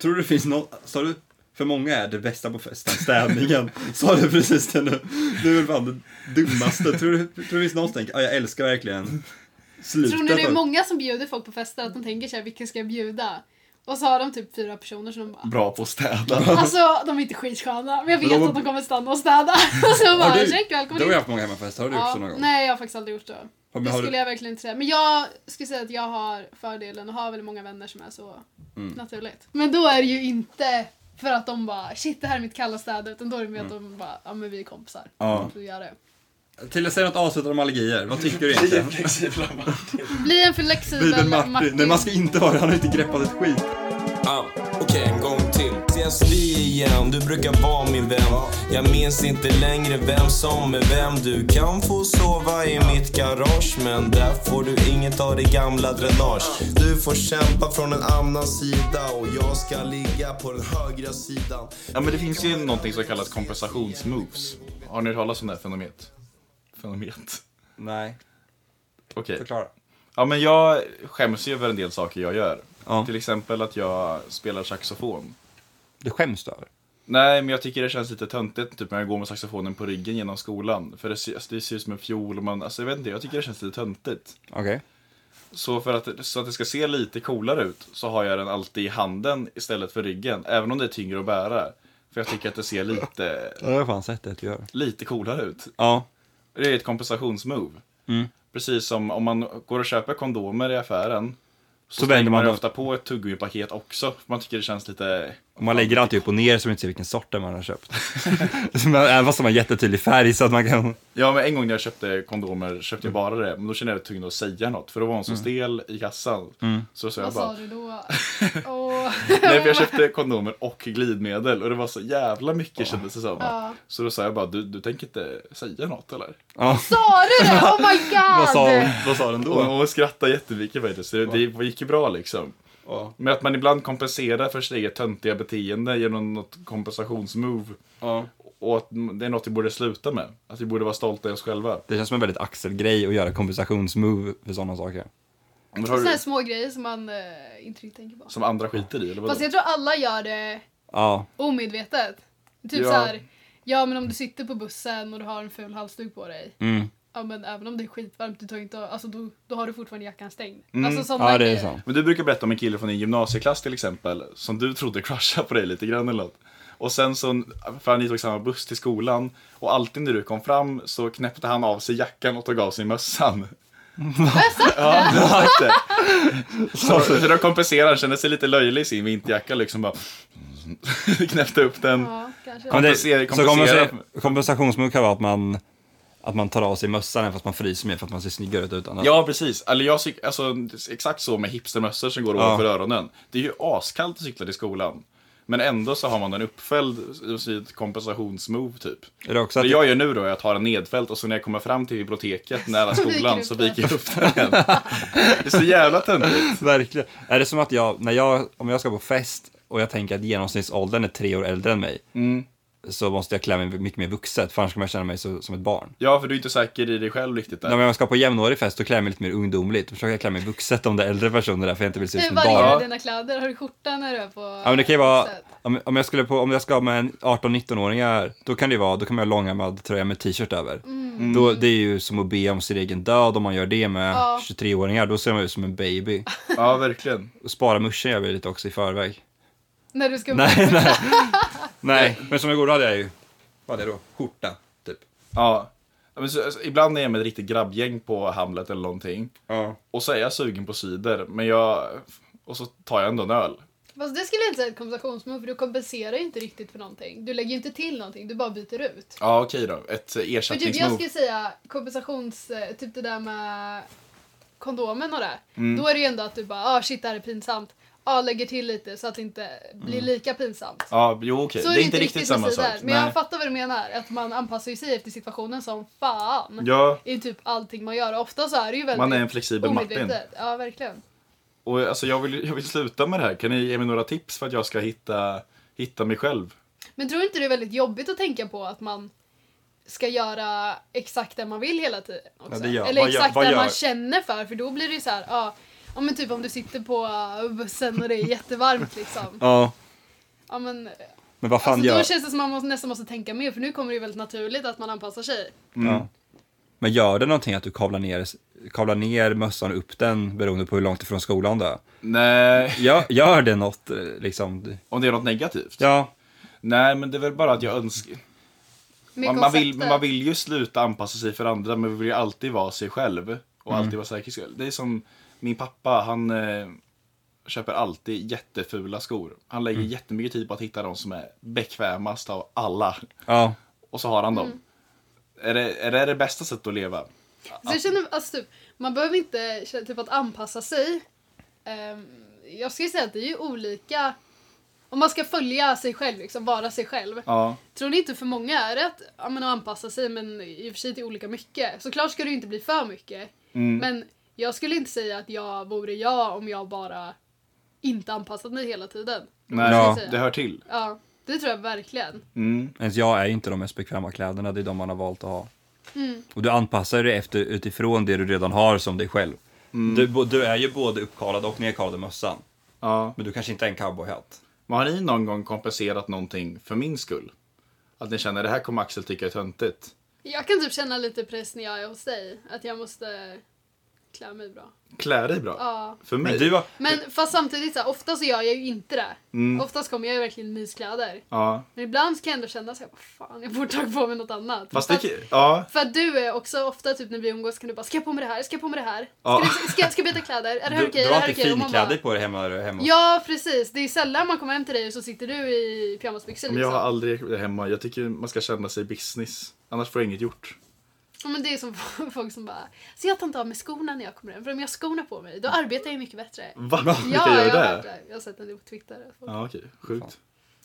Speaker 1: Tror du det finns något, sa du? För många är det bästa på festen städningen. Sa du precis det nu? Det är väl fan det dummaste. Tror du, tror du det finns någon som tänker, ja jag älskar verkligen slutet.
Speaker 9: Tror ni det är
Speaker 1: av-
Speaker 9: många som bjuder folk på fester att de tänker såhär, vilka ska jag bjuda? Och så har de typ fyra personer som de bara
Speaker 2: Bra på att städa.
Speaker 9: Alltså de är inte skitsköna men jag vet
Speaker 2: de-
Speaker 9: att de kommer stanna och städa. Och så bara
Speaker 1: Har du-
Speaker 9: ursäkta
Speaker 1: Du
Speaker 9: välkommen
Speaker 1: har ju
Speaker 9: hit.
Speaker 1: haft många hemmafester, har du gjort så någon
Speaker 9: Ja,
Speaker 1: gång?
Speaker 9: nej jag har faktiskt aldrig gjort det.
Speaker 1: men
Speaker 9: det
Speaker 1: har du-
Speaker 9: skulle jag verkligen inte säga. Men jag skulle säga att jag har fördelen att ha väldigt många vänner som är så
Speaker 1: Mm.
Speaker 9: naturligt. Men då är det ju inte för att de bara shit det här är mitt kalla städa utan då är det med att de bara ja men vi är kompisar.
Speaker 1: Mm. Ja.
Speaker 9: Så gör det.
Speaker 1: Till att säga något avslutande om allergier, vad tycker du egentligen?
Speaker 9: Bli en flexibel
Speaker 1: Bibeln
Speaker 9: Martin.
Speaker 1: Martin. Nej man ska inte vara det, han har inte greppat ett skit.
Speaker 6: Ah, Okej, en gång till. Ses vi igen, du brukar vara min vän. Jag minns inte längre vem som är vem. Du kan få sova i mitt garage, men där får du inget av det gamla dränage. Du får kämpa från en annan sida och jag ska ligga på den högra sidan.
Speaker 2: Ja men det finns ju någonting som kallas kompensationsmoves. Har ni hört talas om det här fenomenet? Fenomenet?
Speaker 1: Nej,
Speaker 2: Okej.
Speaker 1: förklara.
Speaker 2: Ja men jag skäms ju över en del saker jag gör.
Speaker 1: Ja.
Speaker 2: Till exempel att jag spelar saxofon.
Speaker 10: Det skäms du över.
Speaker 2: Nej men jag tycker det känns lite töntigt typ när jag går med saxofonen på ryggen genom skolan. För det ser, alltså, det ser ut som en fiol och man, alltså jag vet inte, jag tycker det känns lite töntigt.
Speaker 10: Okej.
Speaker 2: Så för att, så att det ska se lite coolare ut så har jag den alltid i handen istället för ryggen. Även om det är tyngre att bära. För jag tycker att det ser lite,
Speaker 1: Ja, det har jag fan sett att du gör.
Speaker 2: lite coolare ut.
Speaker 1: Ja.
Speaker 2: Det är ett kompensationsmove.
Speaker 1: Mm.
Speaker 2: Precis som om man går och köper kondomer i affären. Så,
Speaker 1: Så vänder
Speaker 2: vänder man,
Speaker 1: man dem.
Speaker 2: ofta på ett tuggummi-paket också. För man tycker det känns lite...
Speaker 1: Och man lägger alltid upp och ner så man inte ser vilken sort man har köpt. Så man- Även fast de har jättetydlig färg så att man kan...
Speaker 2: Ja, men en gång när jag köpte kondomer köpte jag
Speaker 1: Mm.
Speaker 2: bara det. Men då kände jag det tvungen att säga något. För då var hon så stel i kassan.
Speaker 1: Mm.
Speaker 2: Så sa jag
Speaker 9: Vad
Speaker 2: bara...
Speaker 9: sa du då? Åh.
Speaker 2: Nej, för jag köpte kondomer och glidmedel. Och det var så jävla mycket kändes det som.
Speaker 9: Ja.
Speaker 2: Så då sa jag bara, du, du tänker inte säga något eller?
Speaker 1: Ja.
Speaker 9: Sa du det? Oh my god!
Speaker 11: Vad sa den
Speaker 2: Och hon skrattade jättemycket faktiskt. Så det, det gick ju bra liksom.
Speaker 11: Ja.
Speaker 2: Men att man ibland kompenserar för sitt eget töntiga beteende genom något kompensationsmove.
Speaker 11: Ja.
Speaker 2: Och att det är något vi borde sluta med. Att vi borde vara stolta i oss själva.
Speaker 1: Det känns som en väldigt Axel-grej att göra kompensationsmove för sådana saker.
Speaker 2: Men har
Speaker 9: Sådana här
Speaker 2: du,
Speaker 9: små grejer som man eh, inte riktigt tänker på.
Speaker 2: som andra skiter i eller vadå?
Speaker 9: Fast jag tror alla gör det
Speaker 1: Ja,
Speaker 9: omedvetet. Typ
Speaker 2: Ja.
Speaker 9: så här, ja men om du sitter på bussen och du har en ful halsduk på dig.
Speaker 1: mm.
Speaker 9: Ja men även om det är skitvarmt, du tar inte, av- alltså, då, då har du fortfarande jackan stängd.
Speaker 2: Mm.
Speaker 9: Alltså sådana
Speaker 1: ja det är
Speaker 9: grejer.
Speaker 1: sant.
Speaker 2: Men du brukar berätta om en kille från din gymnasieklass till exempel. Som du trodde crushade på dig lite grann eller något. Och sen så, för ni tog samma buss till skolan. Och alltid när du kom fram så knäppte han av sig jackan och tog av sig mössan. Ja, du har sagt det. Så, så då kompenserar han, kände sig lite löjlig i sin vinterjacka liksom bara. knäppte upp den.
Speaker 9: Ja, kanske.
Speaker 1: Men det,
Speaker 2: Kompensera-
Speaker 1: så kompensa,
Speaker 2: kompensera.
Speaker 1: kompensationsmove kan vara att man, att man tar av sig mössan även fast man fryser mer för att man ser snyggare ut utan.
Speaker 2: Ja, precis. Eller jag cyk- alltså, exakt så med hipstermössor som går
Speaker 1: Ja.
Speaker 2: ovanför öronen. Det är ju askallt att cykla till skolan. Men ändå så har man den uppfälld i ett kompensationsmove typ.
Speaker 1: Är det också
Speaker 2: Det
Speaker 1: att,
Speaker 2: jag gör nu då är att ha den nedfälld och så när jag kommer fram till biblioteket nära
Speaker 9: viker
Speaker 2: skolan
Speaker 9: upp
Speaker 2: så
Speaker 9: den.
Speaker 2: viker jag upp den igen. Det är så jävla töntigt.
Speaker 1: Verkligen. Är det som att jag, när jag, om jag ska på fest och jag tänker att genomsnittsåldern är tre år äldre än mig,
Speaker 2: Mm.
Speaker 1: så måste jag klä mig mycket mer vuxet, för annars kommer jag känna mig så, som ett barn.
Speaker 2: Ja, för du är inte säker i dig själv riktigt
Speaker 1: Nej,
Speaker 2: där.
Speaker 1: men om jag ska på jämnårig fest, då klär jag mig lite mer ungdomligt. Då försöker jag klä mig vuxet om det är äldre personer där, för jag inte vill se ut
Speaker 9: Hur
Speaker 1: som ett barn.
Speaker 9: varierar dina kläder? Har du skjorta när du är på
Speaker 1: Ja, men det kan ju vara,
Speaker 9: huset?
Speaker 1: om, om, jag skulle på, om jag ska ha med en 18-19-åringar, då kan det ju vara, då kan man ha långärmad tröja med t-shirt över.
Speaker 9: Mm.
Speaker 1: Då, det är ju som att be om sin egen död om man gör det med
Speaker 9: Ja.
Speaker 1: 23-åringar, då ser man ut som en baby.
Speaker 2: Ja, verkligen.
Speaker 1: Och spara muschen gör vi lite också i förväg.
Speaker 9: När du ska
Speaker 1: Nej, nej. nej, men som igår då hade jag ju, vad hade jag då? Skjorta, typ.
Speaker 2: Ja. Ja, Men så, alltså, ibland är jag med ett riktigt grabbgäng på Hamlet eller någonting.
Speaker 1: Ja.
Speaker 2: Och så är jag sugen på cider, men jag... Och så tar jag ändå en öl.
Speaker 9: Fast det skulle jag inte säga är ett kompensationsmove för du kompenserar ju inte riktigt för någonting. Du lägger ju inte till någonting, du bara byter ut.
Speaker 2: Ja, okej då. Ett eh,
Speaker 9: För typ, jag
Speaker 2: ersättningsmove.
Speaker 9: skulle säga kompensations... eh, Typ det där med kondomen och det.
Speaker 2: Mm.
Speaker 9: Då är det ju ändå att du bara ah shit det här är pinsamt. ah, lägger till lite så att det inte blir lika pinsamt.
Speaker 2: Ja, jo Mm. okej.
Speaker 9: Så
Speaker 2: Det är inte riktigt,
Speaker 9: med
Speaker 2: samma sak.
Speaker 9: sidor, Men
Speaker 2: Nej.
Speaker 9: jag fattar vad du menar. Att man anpassar ju sig efter situationen som fan.
Speaker 2: Ja,
Speaker 9: I typ allting man gör. Ofta så är det ju väldigt
Speaker 2: man är en flexibel Martin.
Speaker 9: omedvetet. Ja verkligen.
Speaker 2: Och alltså, jag, vill, jag vill sluta med det här. Kan ni ge mig några tips för att jag ska hitta, hitta mig själv?
Speaker 9: Men tror du inte det är väldigt jobbigt att tänka på att man ska göra exakt det man vill hela tiden? Också?
Speaker 1: Ja, det gör-
Speaker 9: Eller
Speaker 1: vad gör-
Speaker 9: exakt
Speaker 1: vad
Speaker 9: det man
Speaker 1: gör-
Speaker 9: känner för, för då blir det ju så här, ja, ja men typ om du sitter på äh, bussen och det är jättevarmt liksom.
Speaker 1: Ja,
Speaker 9: Ja men,
Speaker 1: men vad fan
Speaker 9: alltså,
Speaker 1: gör...
Speaker 9: då känns det som att man måste, nästan måste tänka mer för nu kommer det ju väldigt naturligt att man anpassar sig.
Speaker 1: Ja. Mm. Men gör det någonting att du kavlar ner, kavlar ner mössan och upp den beroende på hur långt ifrån skolan du är?
Speaker 2: Nej,
Speaker 1: Gör, gör det något eh, liksom?
Speaker 2: om det är något negativt?
Speaker 1: Ja,
Speaker 2: Nej, men det är väl bara att jag önskar...
Speaker 9: Med
Speaker 2: Man, man, vill,
Speaker 9: konceptet.
Speaker 2: man vill ju sluta anpassa sig för andra, men vill ju alltid vara sig själv. Och
Speaker 1: Mm.
Speaker 2: alltid vara säker själv. Det är som min pappa, han eh, köper alltid jättefula skor. Han lägger
Speaker 1: Mm.
Speaker 2: jättemycket tid på att hitta de som är bekvämast av alla.
Speaker 1: ja.
Speaker 2: Och så har han dem.
Speaker 9: Mm.
Speaker 2: Är, det, är det det bästa sättet att leva?
Speaker 9: Så jag känner, alltså typ, man behöver inte känna typ att anpassa sig. Ehm, jag skulle säga att det är ju olika, om man ska följa sig själv liksom, vara sig själv.
Speaker 2: Ja.
Speaker 9: Tror ni inte för många är det att, ja, men att anpassa sig men i och för sig till olika mycket? Såklart ska det ju inte bli för mycket.
Speaker 2: Mm.
Speaker 9: Men jag skulle inte säga att jag vore jag om jag bara inte anpassat mig hela tiden.
Speaker 2: Nej,
Speaker 1: Ja.
Speaker 2: det hör till.
Speaker 9: Ja, det tror jag verkligen.
Speaker 2: Mm.
Speaker 1: Ens jag är ju inte de mest bekväma kläderna, det är de man har valt att ha.
Speaker 9: Mm.
Speaker 1: Och du anpassar dig efter, utifrån det du redan har som dig själv.
Speaker 2: Mm.
Speaker 1: Du, bo- du är ju både uppkavlad och nedkavlad i mössan,
Speaker 2: Ja.
Speaker 1: men du kanske inte är en cowboyhatt.
Speaker 2: Men har ni någon gång kompenserat någonting för min skull? Att ni känner det här kommer Axel tycka är töntigt?
Speaker 9: Jag kan typ känna lite press när jag är hos dig. Att jag måste klä mig bra.
Speaker 2: Klä dig bra.
Speaker 9: Ja.
Speaker 2: För mig?
Speaker 1: Men du var-
Speaker 9: Men fast samtidigt, så här, oftast så gör jag ju inte det.
Speaker 2: Mm.
Speaker 9: Oftast kommer jag ju verkligen i myskläder.
Speaker 2: Ja.
Speaker 9: Men ibland kan jag ändå känna så här, "Vad fan, jag borde ta på mig något annat.
Speaker 2: Fast
Speaker 9: För
Speaker 2: det...
Speaker 9: att-
Speaker 2: Ja.
Speaker 9: För att du är också ofta typ när vi umgås kan du bara, ska jag på mig det här, ska jag på mig det här?
Speaker 1: Ja.
Speaker 9: Ska, du, ska, jag- ska jag byta kläder? Är det här
Speaker 1: Du,
Speaker 9: okej?
Speaker 1: du
Speaker 9: är det
Speaker 1: har
Speaker 9: här
Speaker 1: alltid
Speaker 9: okej?" Och man bara-
Speaker 1: finkläder på dig hemma, hemma hos
Speaker 9: Ja, precis. Det är ju sällan man kommer hem till dig och så sitter du i pyjamasbyxor
Speaker 2: Men jag
Speaker 9: liksom.
Speaker 2: har aldrig det hemma. Jag tycker man ska känna sig business. Annars får jag inget gjort.
Speaker 9: Ja, men det är ju som folk som bara, så jag tar inte av mig skorna när jag kommer hem, för om jag har skorna på mig, då arbetar jag ju mycket bättre.
Speaker 2: Va?
Speaker 9: Ja,
Speaker 2: Mm. Vilka
Speaker 9: jag
Speaker 2: gör
Speaker 9: har
Speaker 2: det?
Speaker 9: hört det. Jag har sett det på Twitter.
Speaker 2: Ja, okej. Sjukt.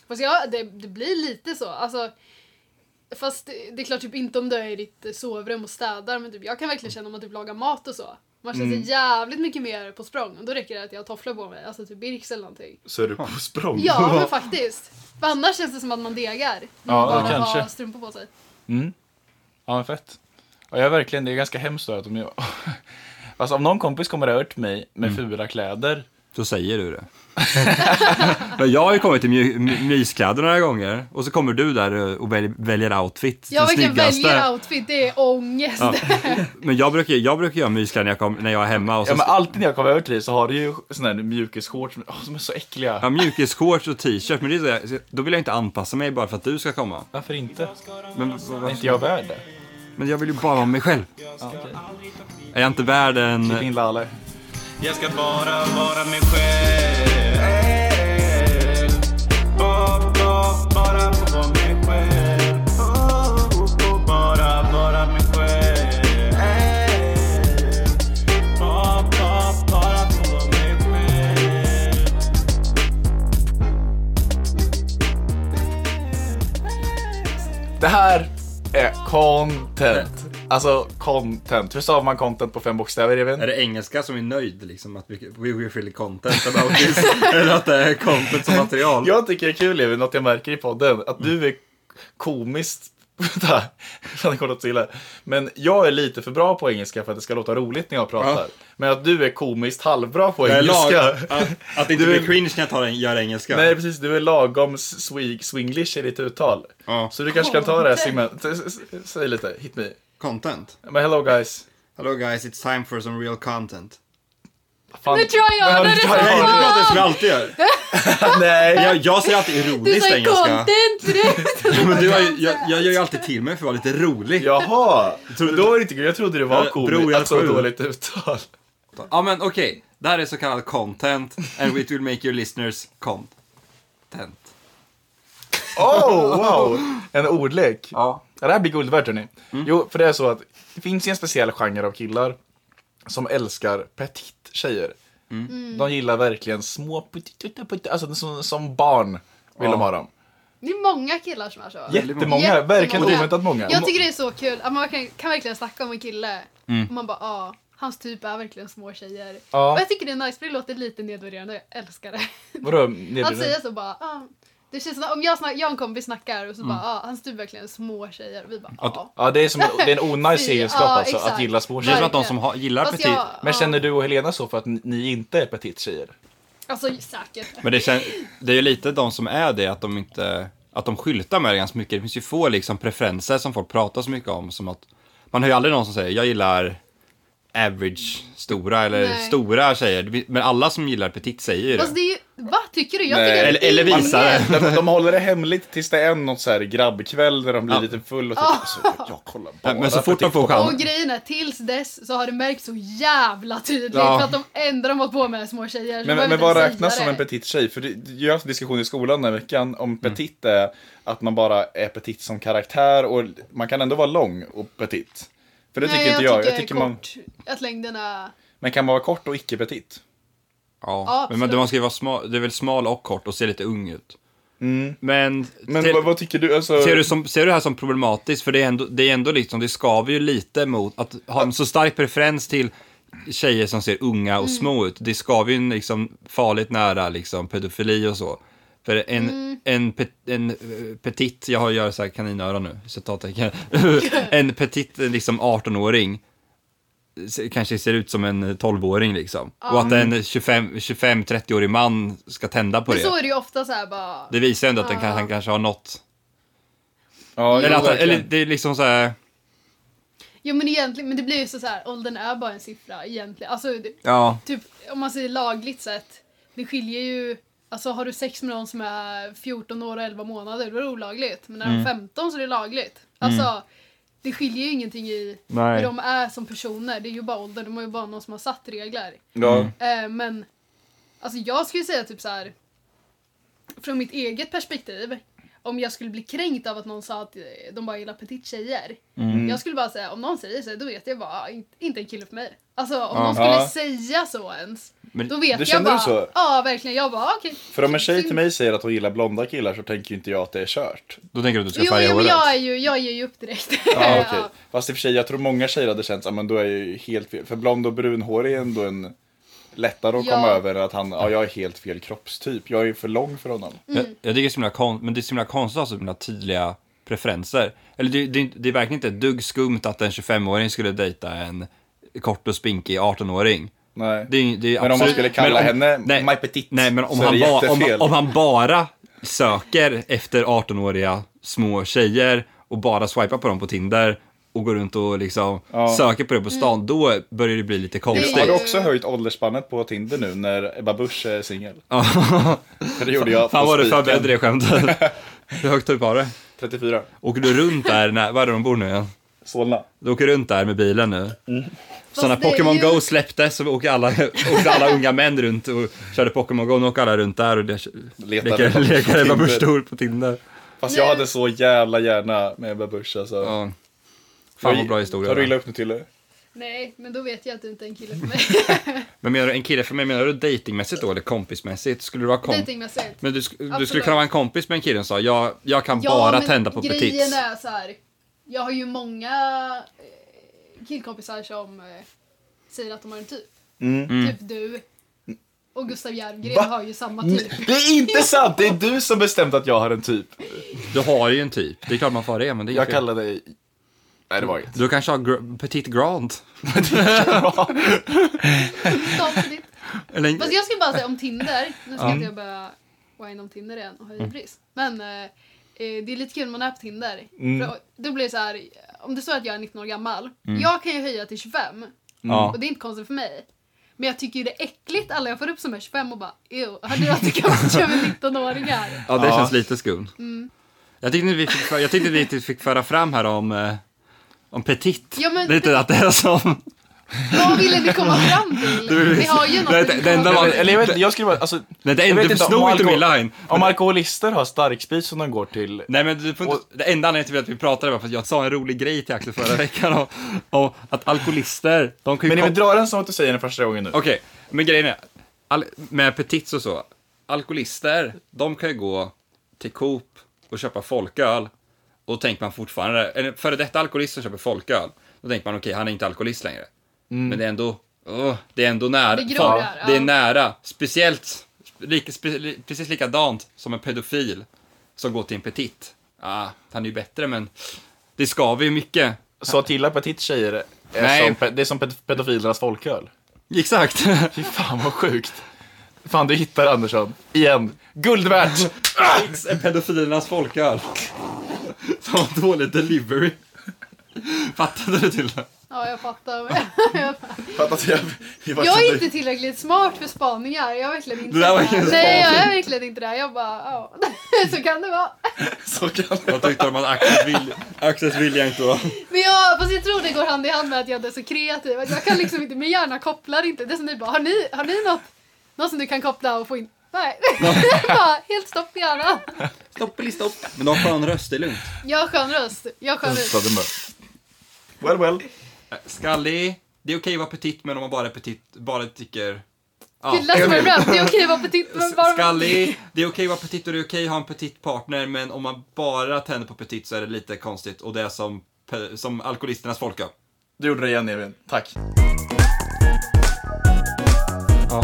Speaker 9: Fast jag, det, det blir lite så. Alltså, fast det, det är klart typ inte om du är i ditt sovrum och städar, men typ, jag kan verkligen känna om man typ lagar mat och så. Man känner sig
Speaker 2: Mm.
Speaker 9: jävligt mycket mer på språng och då räcker det att jag har tofflor på mig, alltså typ Birks eller någonting.
Speaker 2: Så är du på språng.
Speaker 9: Ja, men faktiskt. För annars känns det som att man degar. när
Speaker 2: Ja,
Speaker 9: man bara
Speaker 2: kanske.
Speaker 9: har strumpor på sig.
Speaker 2: Mm. Ja, men fett. Ja, jag är verkligen, det är ganska hemskt då att om jag... Alltså om någon kompis kommer och hört mig med fula kläder.
Speaker 1: Då säger du det. Men jag har ju kommit i my- my- myskläder några gånger och så kommer du där och väl- väljer outfit.
Speaker 9: Jag
Speaker 1: den
Speaker 9: verkligen
Speaker 1: snyggaste.
Speaker 9: väljer outfit, det är ångest.
Speaker 1: Ja. Men jag brukar, jag brukar göra myskläder när jag, kom, när jag är hemma. Och så,
Speaker 2: Ja, men alltid när jag kommer över till dig så har du ju sådana här mjukisshorts som- åh, som är så äckliga.
Speaker 1: Ja, mjukisshorts och t-shirt, men det är så, då vill jag inte anpassa mig bara för att du ska komma.
Speaker 2: Varför inte?
Speaker 1: Men, är
Speaker 2: inte jag värd det?
Speaker 1: Men jag vill ju bara vara mig själv. Typ
Speaker 2: Ja, okej.
Speaker 1: Är jag inte värd en... Klipp
Speaker 2: in Lalle.
Speaker 12: Jag ska bara vara mig själv. Ba- ba- Oh, Bara få vara mig själv. Oh, oh, oh, Bara vara mig själv. Ba- ba- Bara få vara mig själv.
Speaker 2: Det här är Eh, content. Alltså content. Hur stavar man content på fem bokstäver, Evin?
Speaker 1: Är det engelska som är nöjd liksom? Att we, we will feel content about this. Eller att det är content som material.
Speaker 2: Jag tycker det är kul Evin, något jag märker i podden, att
Speaker 1: Mm.
Speaker 2: du är komiskt... Vänta, fan, det går något så illa. Men jag är lite för bra på engelska för att det ska låta roligt när jag pratar.
Speaker 1: Ja.
Speaker 2: Men att du är komiskt halvbra på
Speaker 1: Jag är lag-
Speaker 2: engelska.
Speaker 1: att, att det inte
Speaker 2: Du är-
Speaker 1: blir cringe när jag tar en, gör engelska.
Speaker 2: Nej precis, du är lagom swig, swinglish i ditt uttal. Så du kanske kan ta det här segmentet. S- s- Säg lite, hit me.
Speaker 1: Content.
Speaker 2: Men hello guys.
Speaker 1: Hello guys, it's time for some real content.
Speaker 2: Fan.
Speaker 9: Nu tror jag
Speaker 2: Men
Speaker 9: det är
Speaker 2: jag-
Speaker 9: så
Speaker 1: Nej, nu pratar jag som jag
Speaker 9: bra!
Speaker 1: alltid gör.
Speaker 2: Nej.
Speaker 1: Jag, jag säger alltid
Speaker 9: Du
Speaker 1: ironiskt
Speaker 9: sa ju
Speaker 1: engelska.
Speaker 9: content förut!
Speaker 1: Ja, Men du har, ju- jag, jag gör ju alltid till mig för att vara lite rolig.
Speaker 2: Jaha! Då var det inte kul. Jag trodde det var
Speaker 1: Ja,
Speaker 2: komiskt
Speaker 1: bror, jag
Speaker 2: att så
Speaker 1: tror-
Speaker 2: dåligt uttal.
Speaker 1: Ja men okej, det här är så kallad content and it will make your listeners content.
Speaker 2: Oh, wow! En ordlek.
Speaker 1: Ja.
Speaker 2: Det här blir guld värt hörni.
Speaker 9: Mm.
Speaker 2: Jo, för det är så att det finns ju en speciell genre av killar som älskar petit tjejer.
Speaker 9: Mm.
Speaker 2: De gillar verkligen små petit, petit, petit alltså som, som barn vill de ha dem.
Speaker 9: Det är många killar som är så.
Speaker 2: Jättemånga, verkligen oväntat många.
Speaker 9: Jag tycker det är så kul att man kan, kan verkligen snacka om en kille
Speaker 2: Mm.
Speaker 9: och man bara ja, hans typ är verkligen små tjejer.
Speaker 2: Ja.
Speaker 9: Och jag tycker det är nice för det låter lite nedvärderande, jag älskar det.
Speaker 2: Vadå
Speaker 9: Han
Speaker 2: nedbrytande?
Speaker 9: säger så bara ja, det känns som, om jag, snack, jag och en kompis snackar och så
Speaker 2: Mm.
Speaker 9: bara ja, hans typ är verkligen små tjejer. Vi bara
Speaker 2: Att,
Speaker 9: ja.
Speaker 2: ja, det är, som, det är en
Speaker 9: Fy,
Speaker 2: onajs egenskap
Speaker 9: ja,
Speaker 2: alltså,
Speaker 9: exakt.
Speaker 2: att gilla små
Speaker 9: Det är
Speaker 2: tjejer.
Speaker 9: som att de som har- gillar Fast petit- jag-
Speaker 2: Men
Speaker 9: ja.
Speaker 2: känner du och Helena så för att ni, ni inte är petit tjejer?
Speaker 9: Alltså säkert.
Speaker 1: Men det, kän- det är ju lite de som är det, att de inte att de skyltar med det ganska mycket. Det finns ju få liksom preferenser som folk pratar så mycket om. Som att, man hör ju aldrig någon som säger jag gillar average stora eller
Speaker 9: Nej.
Speaker 1: stora tjejer. Det fin- Men alla som gillar petit säger ju det.
Speaker 9: Fast det är ju, va tycker du? Jag
Speaker 1: Nej.
Speaker 9: tycker
Speaker 1: Eller- eller visa det.
Speaker 2: De, de håller det hemligt tills det är något så här grabbkväll där de blir lite full och typ,
Speaker 9: Ja.
Speaker 2: alltså, jag kollar bara
Speaker 1: men så fort de får
Speaker 9: Och
Speaker 1: chansen.
Speaker 9: grejen är, tills dess så har det märkts så jävla tydligt
Speaker 2: Ja.
Speaker 9: för att de ändå de har hållit på med små tjejer. så
Speaker 2: Men,
Speaker 9: behöver
Speaker 2: men
Speaker 9: inte
Speaker 2: vad
Speaker 9: ens
Speaker 2: räknas
Speaker 9: säga
Speaker 2: som en
Speaker 9: det.
Speaker 2: petit tjej? För det- jag har haft en diskussion i skolan den här veckan
Speaker 1: Mm.
Speaker 2: om petit är att man bara är petit som karaktär och man kan ändå vara lång och petit. För det tycker
Speaker 9: Nej,
Speaker 2: inte jag. jag tycker man,
Speaker 9: kort, att längden är...
Speaker 2: men kan man vara kort och icke petit?
Speaker 1: Ja, men man,
Speaker 9: absolut.
Speaker 1: man ska ju vara smal, det är väl smal och kort och se lite ung ut. Men,
Speaker 2: Mm. Men vad, vad tycker du? Alltså,
Speaker 1: Ser du, som, ser du det här som problematiskt? För det är ändå, det är ändå liksom, det skaver ju lite mot att ha en så stark preferens till tjejer som ser unga och
Speaker 9: Mm.
Speaker 1: små ut. Det skaver ju liksom farligt nära liksom pedofili och så. För en,
Speaker 9: Mm.
Speaker 1: en, pe, en eh, petit, jag har gör så här kaninöron nu, citattecken. en petit eh, liksom 18-åring se- kanske ser ut som en eh, 12-åring liksom.
Speaker 9: Ja.
Speaker 1: Och att en 25 25-30-årig man ska tända på
Speaker 9: Men
Speaker 1: det.
Speaker 9: så är det ju ofta så här bara...
Speaker 1: Det visar ju ändå att den
Speaker 9: Ja.
Speaker 1: kan, han kanske har nått
Speaker 2: Ja,
Speaker 1: eller,
Speaker 2: jo,
Speaker 1: att,
Speaker 2: verkligen.
Speaker 1: eller det är liksom så här...
Speaker 9: Jo men egentligen, men det blir ju så så här, åldern är bara en siffra egentligen. Alltså, det-
Speaker 1: Ja.
Speaker 9: typ, om man säger lagligt sett, det skiljer ju, alltså har du sex med någon som är 14 år och 11 månader, då är det olagligt. Men när de
Speaker 1: Mm.
Speaker 9: är 15 så är det lagligt. Alltså,
Speaker 1: Mm.
Speaker 9: det skiljer ju ingenting i
Speaker 1: Nej.
Speaker 9: hur de är som personer. Det är ju bara åldern, de har ju bara någon som har satt regler.
Speaker 2: Ja.
Speaker 1: Mm.
Speaker 9: Eh, men, alltså jag skulle säga typ så här. från mitt eget perspektiv, om jag skulle bli kränkt av att någon sa att eh, de bara gillar petit tjejer.
Speaker 13: Mm.
Speaker 9: Jag skulle bara säga, om någon säger så, då vet jag bara, "Ah, in- inte en kille för mig. Alltså om
Speaker 2: Ja.
Speaker 9: någon skulle
Speaker 2: Ja.
Speaker 9: säga så ens,
Speaker 2: Men
Speaker 9: då
Speaker 2: det
Speaker 9: vet jag
Speaker 2: känner
Speaker 9: bara,
Speaker 2: du så?
Speaker 9: ja verkligen, jag bara, "Ah, okej.
Speaker 2: För om en tjej till mig säger att hon gillar blonda killar så tänker ju inte jag att det är kört.
Speaker 1: Då tänker du att
Speaker 9: Jo, jo men jag, är ju, jag ger ju upp direkt.
Speaker 2: Ja, okej.
Speaker 9: Ja.
Speaker 2: Fast i och för sig, jag tror många tjejer hade känt att men då är jag ju helt fel. För blond och brunhårig är ändå en lättare att
Speaker 9: Ja.
Speaker 2: komma över än att han, ja jag är helt fel kroppstyp. Jag är ju för lång för honom.
Speaker 1: Jag,
Speaker 9: mm.
Speaker 1: jag tycker det är så himla kon- men det är så himla konstigt att ha så himla tydliga preferenser. Eller det, det, är inte- det är verkligen inte ett dugg skumt att en 25-åring skulle dejta en kort och spinkig 18-åring.
Speaker 2: Nej.
Speaker 1: Det är, det är
Speaker 2: Men om man
Speaker 1: absolut-
Speaker 2: skulle kalla
Speaker 1: men om-
Speaker 2: henne
Speaker 1: nej,
Speaker 2: My Petite
Speaker 1: nej, men om
Speaker 2: så är
Speaker 1: han,
Speaker 2: det
Speaker 1: ba, om,
Speaker 2: jättefel.
Speaker 1: om han bara söker efter 18-åriga små tjejer och bara swipar på dem på Tinder och går runt och liksom
Speaker 2: Ja.
Speaker 1: söker på det på stan,
Speaker 9: Mm.
Speaker 1: då börjar det bli lite konstigt.
Speaker 2: Har du också höjt åldersspannet på Tinder nu när Ebba Busch är singel? För det gjorde jag
Speaker 1: Fan
Speaker 2: på
Speaker 1: vad du
Speaker 2: spiken.
Speaker 1: förberedde det skämtet. Hur högt upp var det?
Speaker 2: 34.
Speaker 1: Åker du runt där, när, var är det de bor nu igen?
Speaker 2: Solna.
Speaker 1: Du åker runt där med bilen nu.
Speaker 2: Mm.
Speaker 1: Så när
Speaker 9: Fast det är
Speaker 1: Pokémon
Speaker 9: ju-
Speaker 1: Go släpptes så åker alla, åkte alla unga män runt och körde Pokémon Go. Nu åker alla runt där och le-
Speaker 2: Letar
Speaker 1: leker- leker Ebba Busch Thor på Tinder.
Speaker 2: Fast jag hade så jävla gärna med Ebba Busch alltså.
Speaker 1: Ja. Fan, vad bra historia
Speaker 2: Tar du
Speaker 1: det.
Speaker 2: illa upp nu till
Speaker 9: Nej, men då vet jag att du inte är en kille för mig.
Speaker 1: Men menar du en kille för mig, menar du datingmässigt då eller kompismässigt? Skulle du vara komp-
Speaker 9: Dejtingmässigt.
Speaker 1: Men du, sk- du skulle
Speaker 9: Absolut.
Speaker 1: kunna vara en kompis med en kille som sa jag, jag kan bara
Speaker 9: men
Speaker 1: tända på
Speaker 9: grejen
Speaker 1: petits.
Speaker 9: är så här. Jag har ju många eh, killkompisar som eh, säger att de har en typ.
Speaker 2: Mm. Mm.
Speaker 9: Typ du. Och Gustav Järvgren
Speaker 2: Va?
Speaker 9: har ju samma typ.
Speaker 2: Det är inte sant! Det är du som bestämt att jag har en typ.
Speaker 1: Du har ju en typ. Det är klart man får det, men det är
Speaker 2: Jag
Speaker 1: fel.
Speaker 2: kallar dig... Nej, det var inget.
Speaker 1: Du kanske har gr- Petit Grand.
Speaker 9: Statligt.
Speaker 1: Eller en-
Speaker 9: typ. Fast jag ska bara säga om Tinder. Nu ska
Speaker 1: Ja. Mm.
Speaker 9: inte jag börja whina om Tinder igen och höja pris. Men eh, eh, det är lite kul när man är på Tinder.
Speaker 1: Mm.
Speaker 9: För då blir det så här. Om det står att jag är 19 år gammal.
Speaker 1: Mm.
Speaker 9: Jag kan ju höja till 25.
Speaker 1: Ja.
Speaker 9: Och det är inte konstigt för mig. Men jag tycker ju det är äckligt alla jag får upp som är 25 och bara ew, hade jag inte kanske kört med 19-åringar?
Speaker 1: Ja, det känns lite skumt.
Speaker 9: Mm.
Speaker 1: Jag tyckte inte vi fick, jag tyckte inte vi fick föra fram här om, eh, om petit.
Speaker 9: Ja, men-
Speaker 1: lite att det är som...
Speaker 9: Vad ville ni komma fram till? Vi har ju något
Speaker 1: Det-
Speaker 9: vi
Speaker 1: det-
Speaker 9: vill
Speaker 1: det enda
Speaker 9: komma
Speaker 1: man-
Speaker 9: fram till.
Speaker 2: Eller jag, vet, jag skulle bara, alltså,
Speaker 1: Nej, det
Speaker 2: jag
Speaker 1: enda-
Speaker 2: vet inte om
Speaker 1: sno inte
Speaker 2: alko-
Speaker 1: min line.
Speaker 2: Om alkoholister har starksprit som de går till.
Speaker 1: Nej men du får inte, det enda anledningen till att vi pratade var för att jag sa en rolig grej till Axel förra veckan om, om att alkoholister, de kan ju
Speaker 2: Men ni
Speaker 1: kom-
Speaker 2: vill dra den som att du säger den första gången nu.
Speaker 1: Okej, men grejen är, al- med petits och så, alkoholister, de kan ju gå till Coop och köpa folköl och tänker man fortfarande, en före detta alkoholist som köper folköl, då tänker man okej, han är inte alkoholist längre. Men det är ändå, åh, det är ändå nära.
Speaker 9: Det är grovt
Speaker 1: Fan,
Speaker 9: där, ja.
Speaker 1: det är nära, speciellt, lika, spe, li- precis likadant som en pedofil som går till en petit. Ah, han är ju bättre men, det ska vi ju mycket.
Speaker 2: Så att gilla petit-tjejer är
Speaker 1: Nej.
Speaker 2: som, pe- det är som ped- pedofilernas folköl.
Speaker 1: Exakt.
Speaker 2: Fy fan vad sjukt. Fan du hittar Andersson. Igen. Guld värt.
Speaker 1: Fix är eh, pedofilernas folköl. Som har dålig delivery. Fattade du till det?
Speaker 9: Ja, jag fattar.
Speaker 2: Fattat jag. var
Speaker 9: jag
Speaker 2: så-
Speaker 9: är inte tillräckligt smart för spaningar. Jag är verkligen inte
Speaker 1: Det där var ingen
Speaker 9: Nej, jag är
Speaker 1: spaning.
Speaker 9: verkligen inte det. Jag bara, ja. Så kan det vara.
Speaker 1: Vad tyckte de om att Axels vilja, Axels vilja inte var?
Speaker 9: Men jag, fast jag tror det går hand i hand med att jag inte är så kreativ. Att Jag kan liksom inte, min hjärna kopplar inte. Det är som ni bara, har ni, har ni något, något som du kan koppla och få in? Nej. bara, helt stopp i hjärnan.
Speaker 1: Men de har skön röst, det är lugnt.
Speaker 9: Jag har skön röst. Jag har skön röst.
Speaker 2: Well, well.
Speaker 1: Skallig. Det är okej att vara petit, men om man bara är petit, bara tycker... Ja.
Speaker 9: Killar som är bra, det är okej att vara petit men bara...
Speaker 1: Skallig. Det är okej att vara petit och det är okej att ha en petit partner, men om man bara tänder på petit så är det lite konstigt. Och det är som, pe- som alkoholisternas folköl.
Speaker 2: Du gjorde det igen Evin. Tack.
Speaker 1: Ja.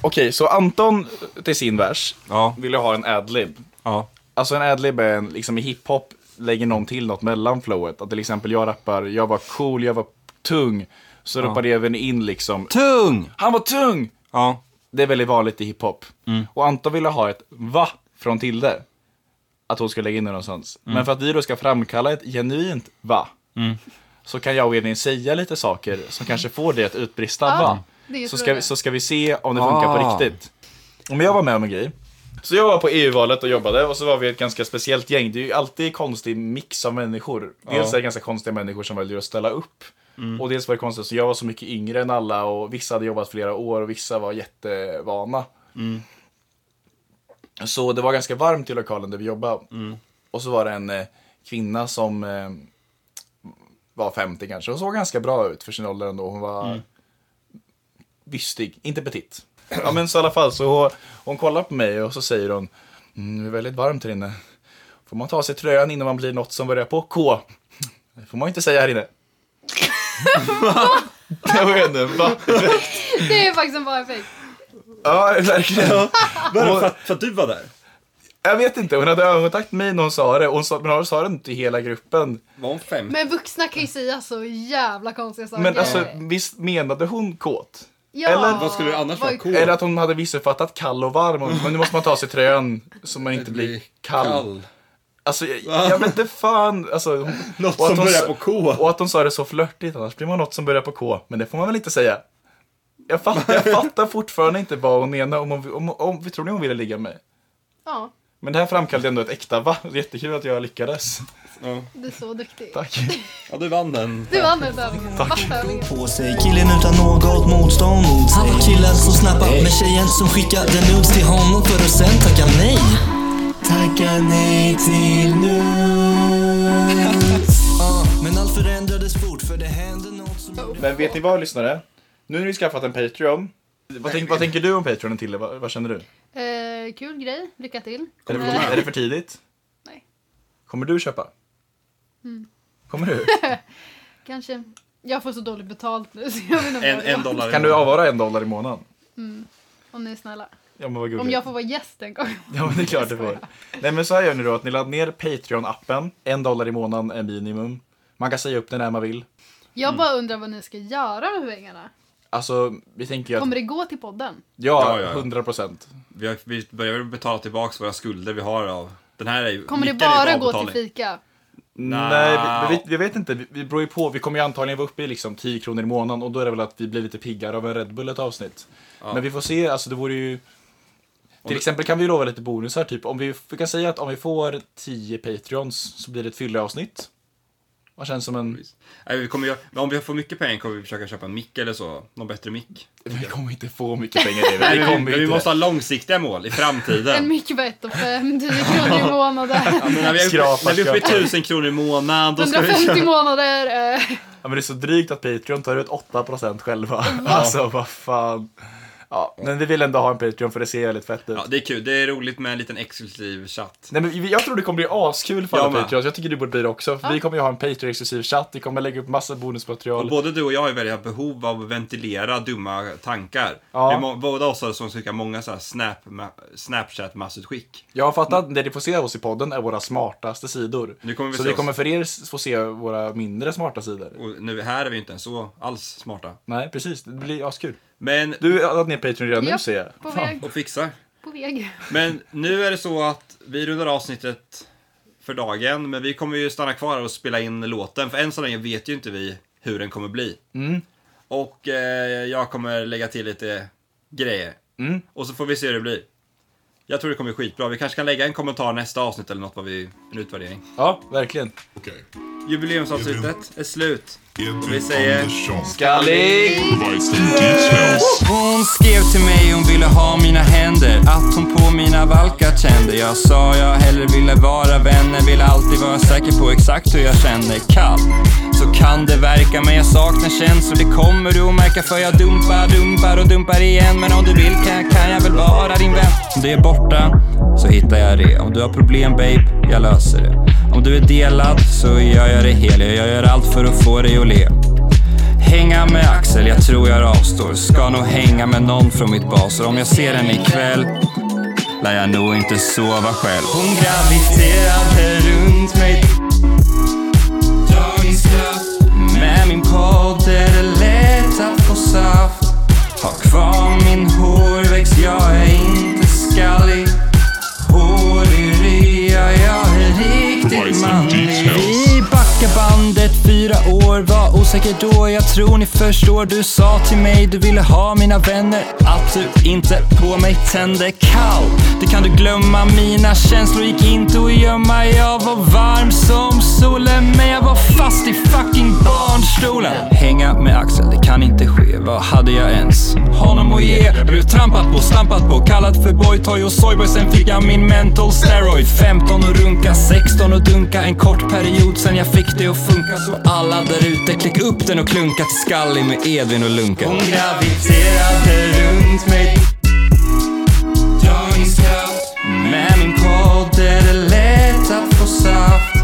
Speaker 2: Okej, så Anton eh, till sin vers vill ju ha en adlib.
Speaker 1: Ja.
Speaker 2: Alltså en adlib är en, liksom i hiphop lägger någon till något mellan flowet. Att till exempel jag rappar, jag var cool, jag var tung. Så
Speaker 1: Ja.
Speaker 2: rappar Evin in liksom.
Speaker 1: Tung!
Speaker 2: Han var tung!
Speaker 1: Ja.
Speaker 2: Det är väldigt vanligt i hiphop.
Speaker 1: Mm.
Speaker 2: Och Anton ville ha ett va från Tilde. Att hon ska lägga in det någonstans.
Speaker 1: Mm.
Speaker 2: Men för att vi då ska framkalla ett genuint va.
Speaker 1: Mm.
Speaker 2: så kan jag och Edvin säga lite saker som kanske får det att utbrista. va?
Speaker 9: Ah, det är
Speaker 2: så,
Speaker 9: så
Speaker 2: ska
Speaker 9: det.
Speaker 2: vi, så ska vi se om det funkar
Speaker 1: Ah.
Speaker 2: på riktigt. Om jag var med om en grej. Så jag var på EU-valet och jobbade och så var vi ett ganska speciellt gäng. Det är ju alltid konstig mix av människor. Dels är det ganska konstiga människor som väljer att ställa upp. Och dels var det konstigt, så jag var så mycket yngre än alla och vissa hade jobbat flera år och vissa var jättevana. Så det var ganska varmt i lokalen där vi jobbade. Och så var det en eh, kvinna som eh, var 50 kanske. Hon såg ganska bra ut för sin ålder ändå. Hon var bystig, inte petit. Ja men så i alla fall så hon, hon kollar på mig och så säger hon mm, Det är väldigt varmt här inne. Får man ta av sig tröjan innan man blir något som börjar på K? Det får man ju inte säga här inne. Jag vet inte, va?
Speaker 9: Det är faktiskt en bra effekt.
Speaker 2: Ja, verkligen.
Speaker 11: Bara för, att- för att du var där?
Speaker 2: Jag vet inte, hon hade ögonkontakt med mig när hon sa det. Hon sa, men hon sa det inte till hela gruppen.
Speaker 11: Var hon fem?
Speaker 9: Men vuxna kan ju säga så jävla konstiga saker.
Speaker 2: Men alltså, visst menade hon kåt?
Speaker 9: ja,
Speaker 2: eller
Speaker 11: vad skulle det annars vara?
Speaker 9: vad-
Speaker 11: Cool.
Speaker 2: Eller att hon hade missuppfattat kall och varm. och- Men nu måste man ta av sig tröjan så man inte blir kall. Alltså, jag, jag vet inte fan. Alltså, hon-
Speaker 11: Något
Speaker 2: och att
Speaker 11: som
Speaker 2: hon
Speaker 11: börjar
Speaker 2: sa-
Speaker 11: på K.
Speaker 2: Och att hon sa det så flörtigt, annars blir man något som börjar på K. Men det får man väl inte säga? Jag fattar, jag fattar fortfarande inte vad hon menar. Om hon, om, om, tror ni hon ville ligga med mig?
Speaker 9: Ja,
Speaker 2: Men det här framkallade ändå ett äkta va? Jättekul att jag lyckades.
Speaker 9: du är så duktig.
Speaker 2: Tack.
Speaker 11: Ja, du vann den.
Speaker 9: Du vann den tävlingen. Fast tävlingen.
Speaker 6: på sig Killen utan något motstånd mot sig Han var killen som snappade med tjejen som skickade nudes till honom för att sen tacka nej Tacka nej till nudes Ja, Men allt förändrades fort för det hände något som...
Speaker 2: Men vet ni vad lyssnare? Nu när vi skaffat en Patreon. Vad, tänk, vad tänker du om Patreon till? Vad, vad känner du?
Speaker 9: Eh, kul grej, lycka till.
Speaker 2: Är det, är det för tidigt?
Speaker 9: Nej. Mm.
Speaker 2: Kommer du köpa? Kommer du?
Speaker 9: Kanske. Jag får så dåligt betalt nu så jag vet inte om
Speaker 11: En,
Speaker 9: jag-
Speaker 11: en dollar. i
Speaker 2: Kan du
Speaker 11: månaden.
Speaker 2: avvara en dollar i månaden?
Speaker 9: Om ni är snälla.
Speaker 2: Ja men vad gulligt.
Speaker 9: Om jag får vara gäst en gång.
Speaker 2: Ja men det är klart du får. Nej men så här gör ni då att ni laddar ner Patreon-appen. En dollar i månaden är minimum. Man kan säga upp den när man vill.
Speaker 9: Jag bara undrar vad ni ska göra med pengarna.
Speaker 2: Alltså vi tänker ju att
Speaker 9: Kommer det gå till podden?
Speaker 2: ja,
Speaker 1: Ja, ja, ja.
Speaker 2: 100 procent.
Speaker 1: Vi, har, vi börjar väl betala tillbaka våra skulder vi har av... Den här är ju...
Speaker 9: Kommer det
Speaker 1: Mickan är ju
Speaker 9: bara
Speaker 1: bra
Speaker 9: gå till
Speaker 1: betalning.
Speaker 9: fika?
Speaker 2: Nej, vi, vi, vi vet inte. Vi, vi beror ju på. Vi kommer ju antagligen vara uppe i liksom 10 kronor i månaden och då är det väl att vi blir lite piggare av en Red Bull ett avsnitt. Men vi får se. Alltså det vore ju... Till exempel kan vi ju lova lite bonusar. Typ om vi, vi kan säga att om vi får 10 Patreons så blir det ett fylleavsnitt. Vad känns som en...
Speaker 1: Nej, vi kommer, göra- men om vi får mycket pengar kommer vi försöka köpa en mick eller så. Någon bättre mick.
Speaker 2: Vi kommer inte få mycket pengar det.
Speaker 1: Nej,
Speaker 2: Vi
Speaker 1: men
Speaker 2: kommer
Speaker 1: vi, vi
Speaker 2: inte.
Speaker 1: måste ha långsiktiga mål i
Speaker 9: En
Speaker 1: framtiden.
Speaker 9: mycket bättre och fem, 10 kronor i månaden.
Speaker 1: Ja, men när vi är uppe-
Speaker 2: Skrapa,
Speaker 1: när vi är uppe i
Speaker 2: skrapa.
Speaker 1: 1000 kronor i månaden, då ska vi
Speaker 9: 150
Speaker 1: köpa...
Speaker 9: månader. eh,
Speaker 2: Ja, men det är så drygt att Patreon tar ut 8% själva. Alltså vad fan. Ja, men vi vill ändå ha en Patreon för det ser väldigt fett ut.
Speaker 1: Ja, det är kul. Det är roligt med en liten exklusiv chatt.
Speaker 2: Nej, men vi- jag tror det kommer bli askul för
Speaker 1: Jag
Speaker 2: alla
Speaker 1: med.
Speaker 2: Patreons. Jag tycker du borde bli det också. För Vi kommer ju ha en Patreon-exklusiv chatt. Vi kommer lägga upp massa
Speaker 1: Och
Speaker 2: bonusmaterial.
Speaker 1: både du och jag har ju väldigt behov av att ventilera dumma tankar.
Speaker 2: Ja.
Speaker 1: Det är må- båda oss har som cirka många så här snap, ma- Snapchat-massutskick.
Speaker 2: Jag har fattat att det ni får se av oss i podden är våra smartaste sidor.
Speaker 1: Nu kommer vi
Speaker 2: så
Speaker 1: se
Speaker 2: ni
Speaker 1: oss.
Speaker 2: kommer för er få se våra mindre smarta sidor.
Speaker 1: Och nu här är vi ju inte ens så alls smarta.
Speaker 2: Nej, precis. Det blir askul.
Speaker 1: Men,
Speaker 2: Du har laddat ner Patreon redan nu
Speaker 9: Japp,
Speaker 2: ser jag.
Speaker 9: på
Speaker 2: Fan.
Speaker 9: väg.
Speaker 1: och fixar.
Speaker 9: På väg.
Speaker 1: Men nu är det så att vi rundar avsnittet för dagen. Men vi kommer ju stanna kvar och spela in låten. För än så länge vet ju inte vi hur den kommer bli. Och eh, jag kommer lägga till lite grejer. Och så får vi se hur det blir. Jag tror det kommer bli skitbra. Vi kanske kan lägga en kommentar nästa avsnitt eller något vad vi... En utvärdering.
Speaker 2: Ja, verkligen.
Speaker 1: Jubileumsavsnittet är slut. Och vi säger...
Speaker 2: Skallig!
Speaker 6: Hon skrev till mig, hon ville ha mina händer Att hon på mina valkar kände Jag sa jag hellre ville vara vänner Ville alltid vara säker på exakt hur jag känner Kall, så kan det verka Men jag saknar känslor, det kommer du att märka För jag dumpar, dumpar och dumpar igen Men om du vill kan, kan jag väl vara din vän Om det är borta, så hittar jag det Om du har problem babe, jag löser det Om du är delad, så gör jag det hel Jag gör allt för att få dig att le Hänga med Axel, jag tror jag avstår. Ska nog hänga med någon från mitt basår. Om jag ser henne ikväll lär jag nog inte sova själv. Hon graviterade runt mig. Dagens kraft. Med min podd är det lätt att få saft. Har kvar min hårväxt, jag är inte skallig. Hårig, ja jag är riktigt manlig. Vi backar bandet, vi
Speaker 1: fyra år, var osäker då, jag tror ni förstår. Du sa till mig du ville ha mina vänner, att du inte på mig tände kall. Det kan du glömma, mina känslor gick inte att gömma. Jag var varm som solen, men jag var fast i fucking barnstolen. Hänga med Axel, det kan inte ske. Vad hade jag ens honom att ge? Blev trampad på, stampat på, kallat för boytoy och soyboy. Sen fick jag min mental steroid. 15 och runka, 16 och dunka. En kort period sen jag fick det att funka. Så alla där ute, klicka upp den och klunka till Skalli med Edvin och Lunka.
Speaker 6: Hon graviterade runt mig Dragningskraft
Speaker 1: Med min podd är det lätt att få saft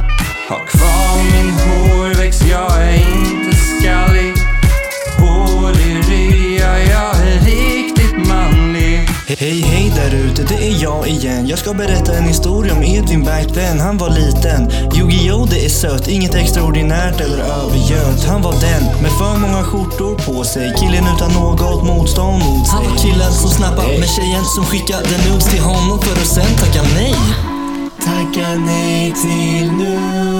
Speaker 1: Har kvar min hårväxt, jag är inte skallig Hål i rya, jag är riktigt manlig
Speaker 6: Hej hej där ute, det är jag igen. Jag ska berätta en historia om Edvin back then. Han var liten. Yu-Gi-Oh det är sött, inget extraordinärt eller övergött. Han var den med för många skjortor på sig. Killen utan något motstånd mot sig.
Speaker 14: Han var killen som snappade med tjejen som skickade noobs till honom för att sen tacka nej. Tacka nej till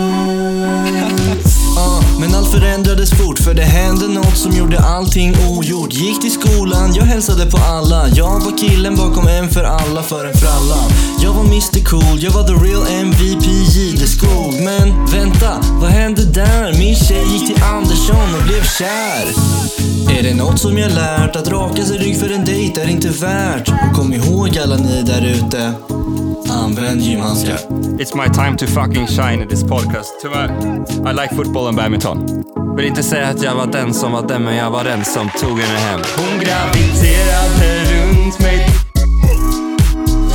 Speaker 14: nu.
Speaker 6: Ah, Men allt förändrades fort för det hände något som gjorde allting ogjort Gick till skolan, jag hälsade på alla Jag var killen bakom en för alla för en fralla Jag var Mr Cool, jag var the real MVP Jideskog Men vänta, vad hände där? Min tjej gick till Andersson och blev kär Är det något som jag lärt? Att raka sig rygg för en dejt är inte värt Och kom ihåg alla ni där ute Använd gymhandskar
Speaker 15: It's my time to fucking shine in this podcast. Tyvärr. I like football and badminton. Vill inte säga att jag var den som var den, men jag var den som tog henne hem.
Speaker 1: Hon graviterade runt mig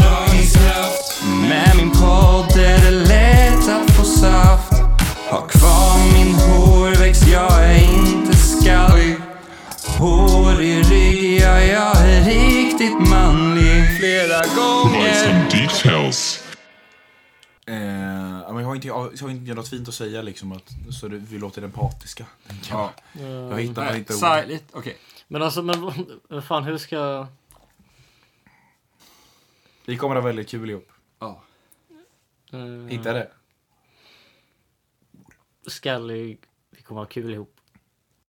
Speaker 1: Dragningskraft Med min podd är det lätt att få saft Har kvar min hårväxt, jag är inte skallig Hår i rya, jag är riktigt manlig Flera gånger
Speaker 2: details. Eh, ja, men jag har inte, jag har jag har inte något fint att säga liksom, att, så det, vi låter den patiska. tänker jag. Jag hittar jag hittar ord.
Speaker 5: Men alltså, men vad fan, hur ska jag...
Speaker 2: Vi kommer att ha väldigt kul ihop.
Speaker 5: eh,
Speaker 2: Hitta det.
Speaker 5: Skallig, vi kommer ha kul ihop.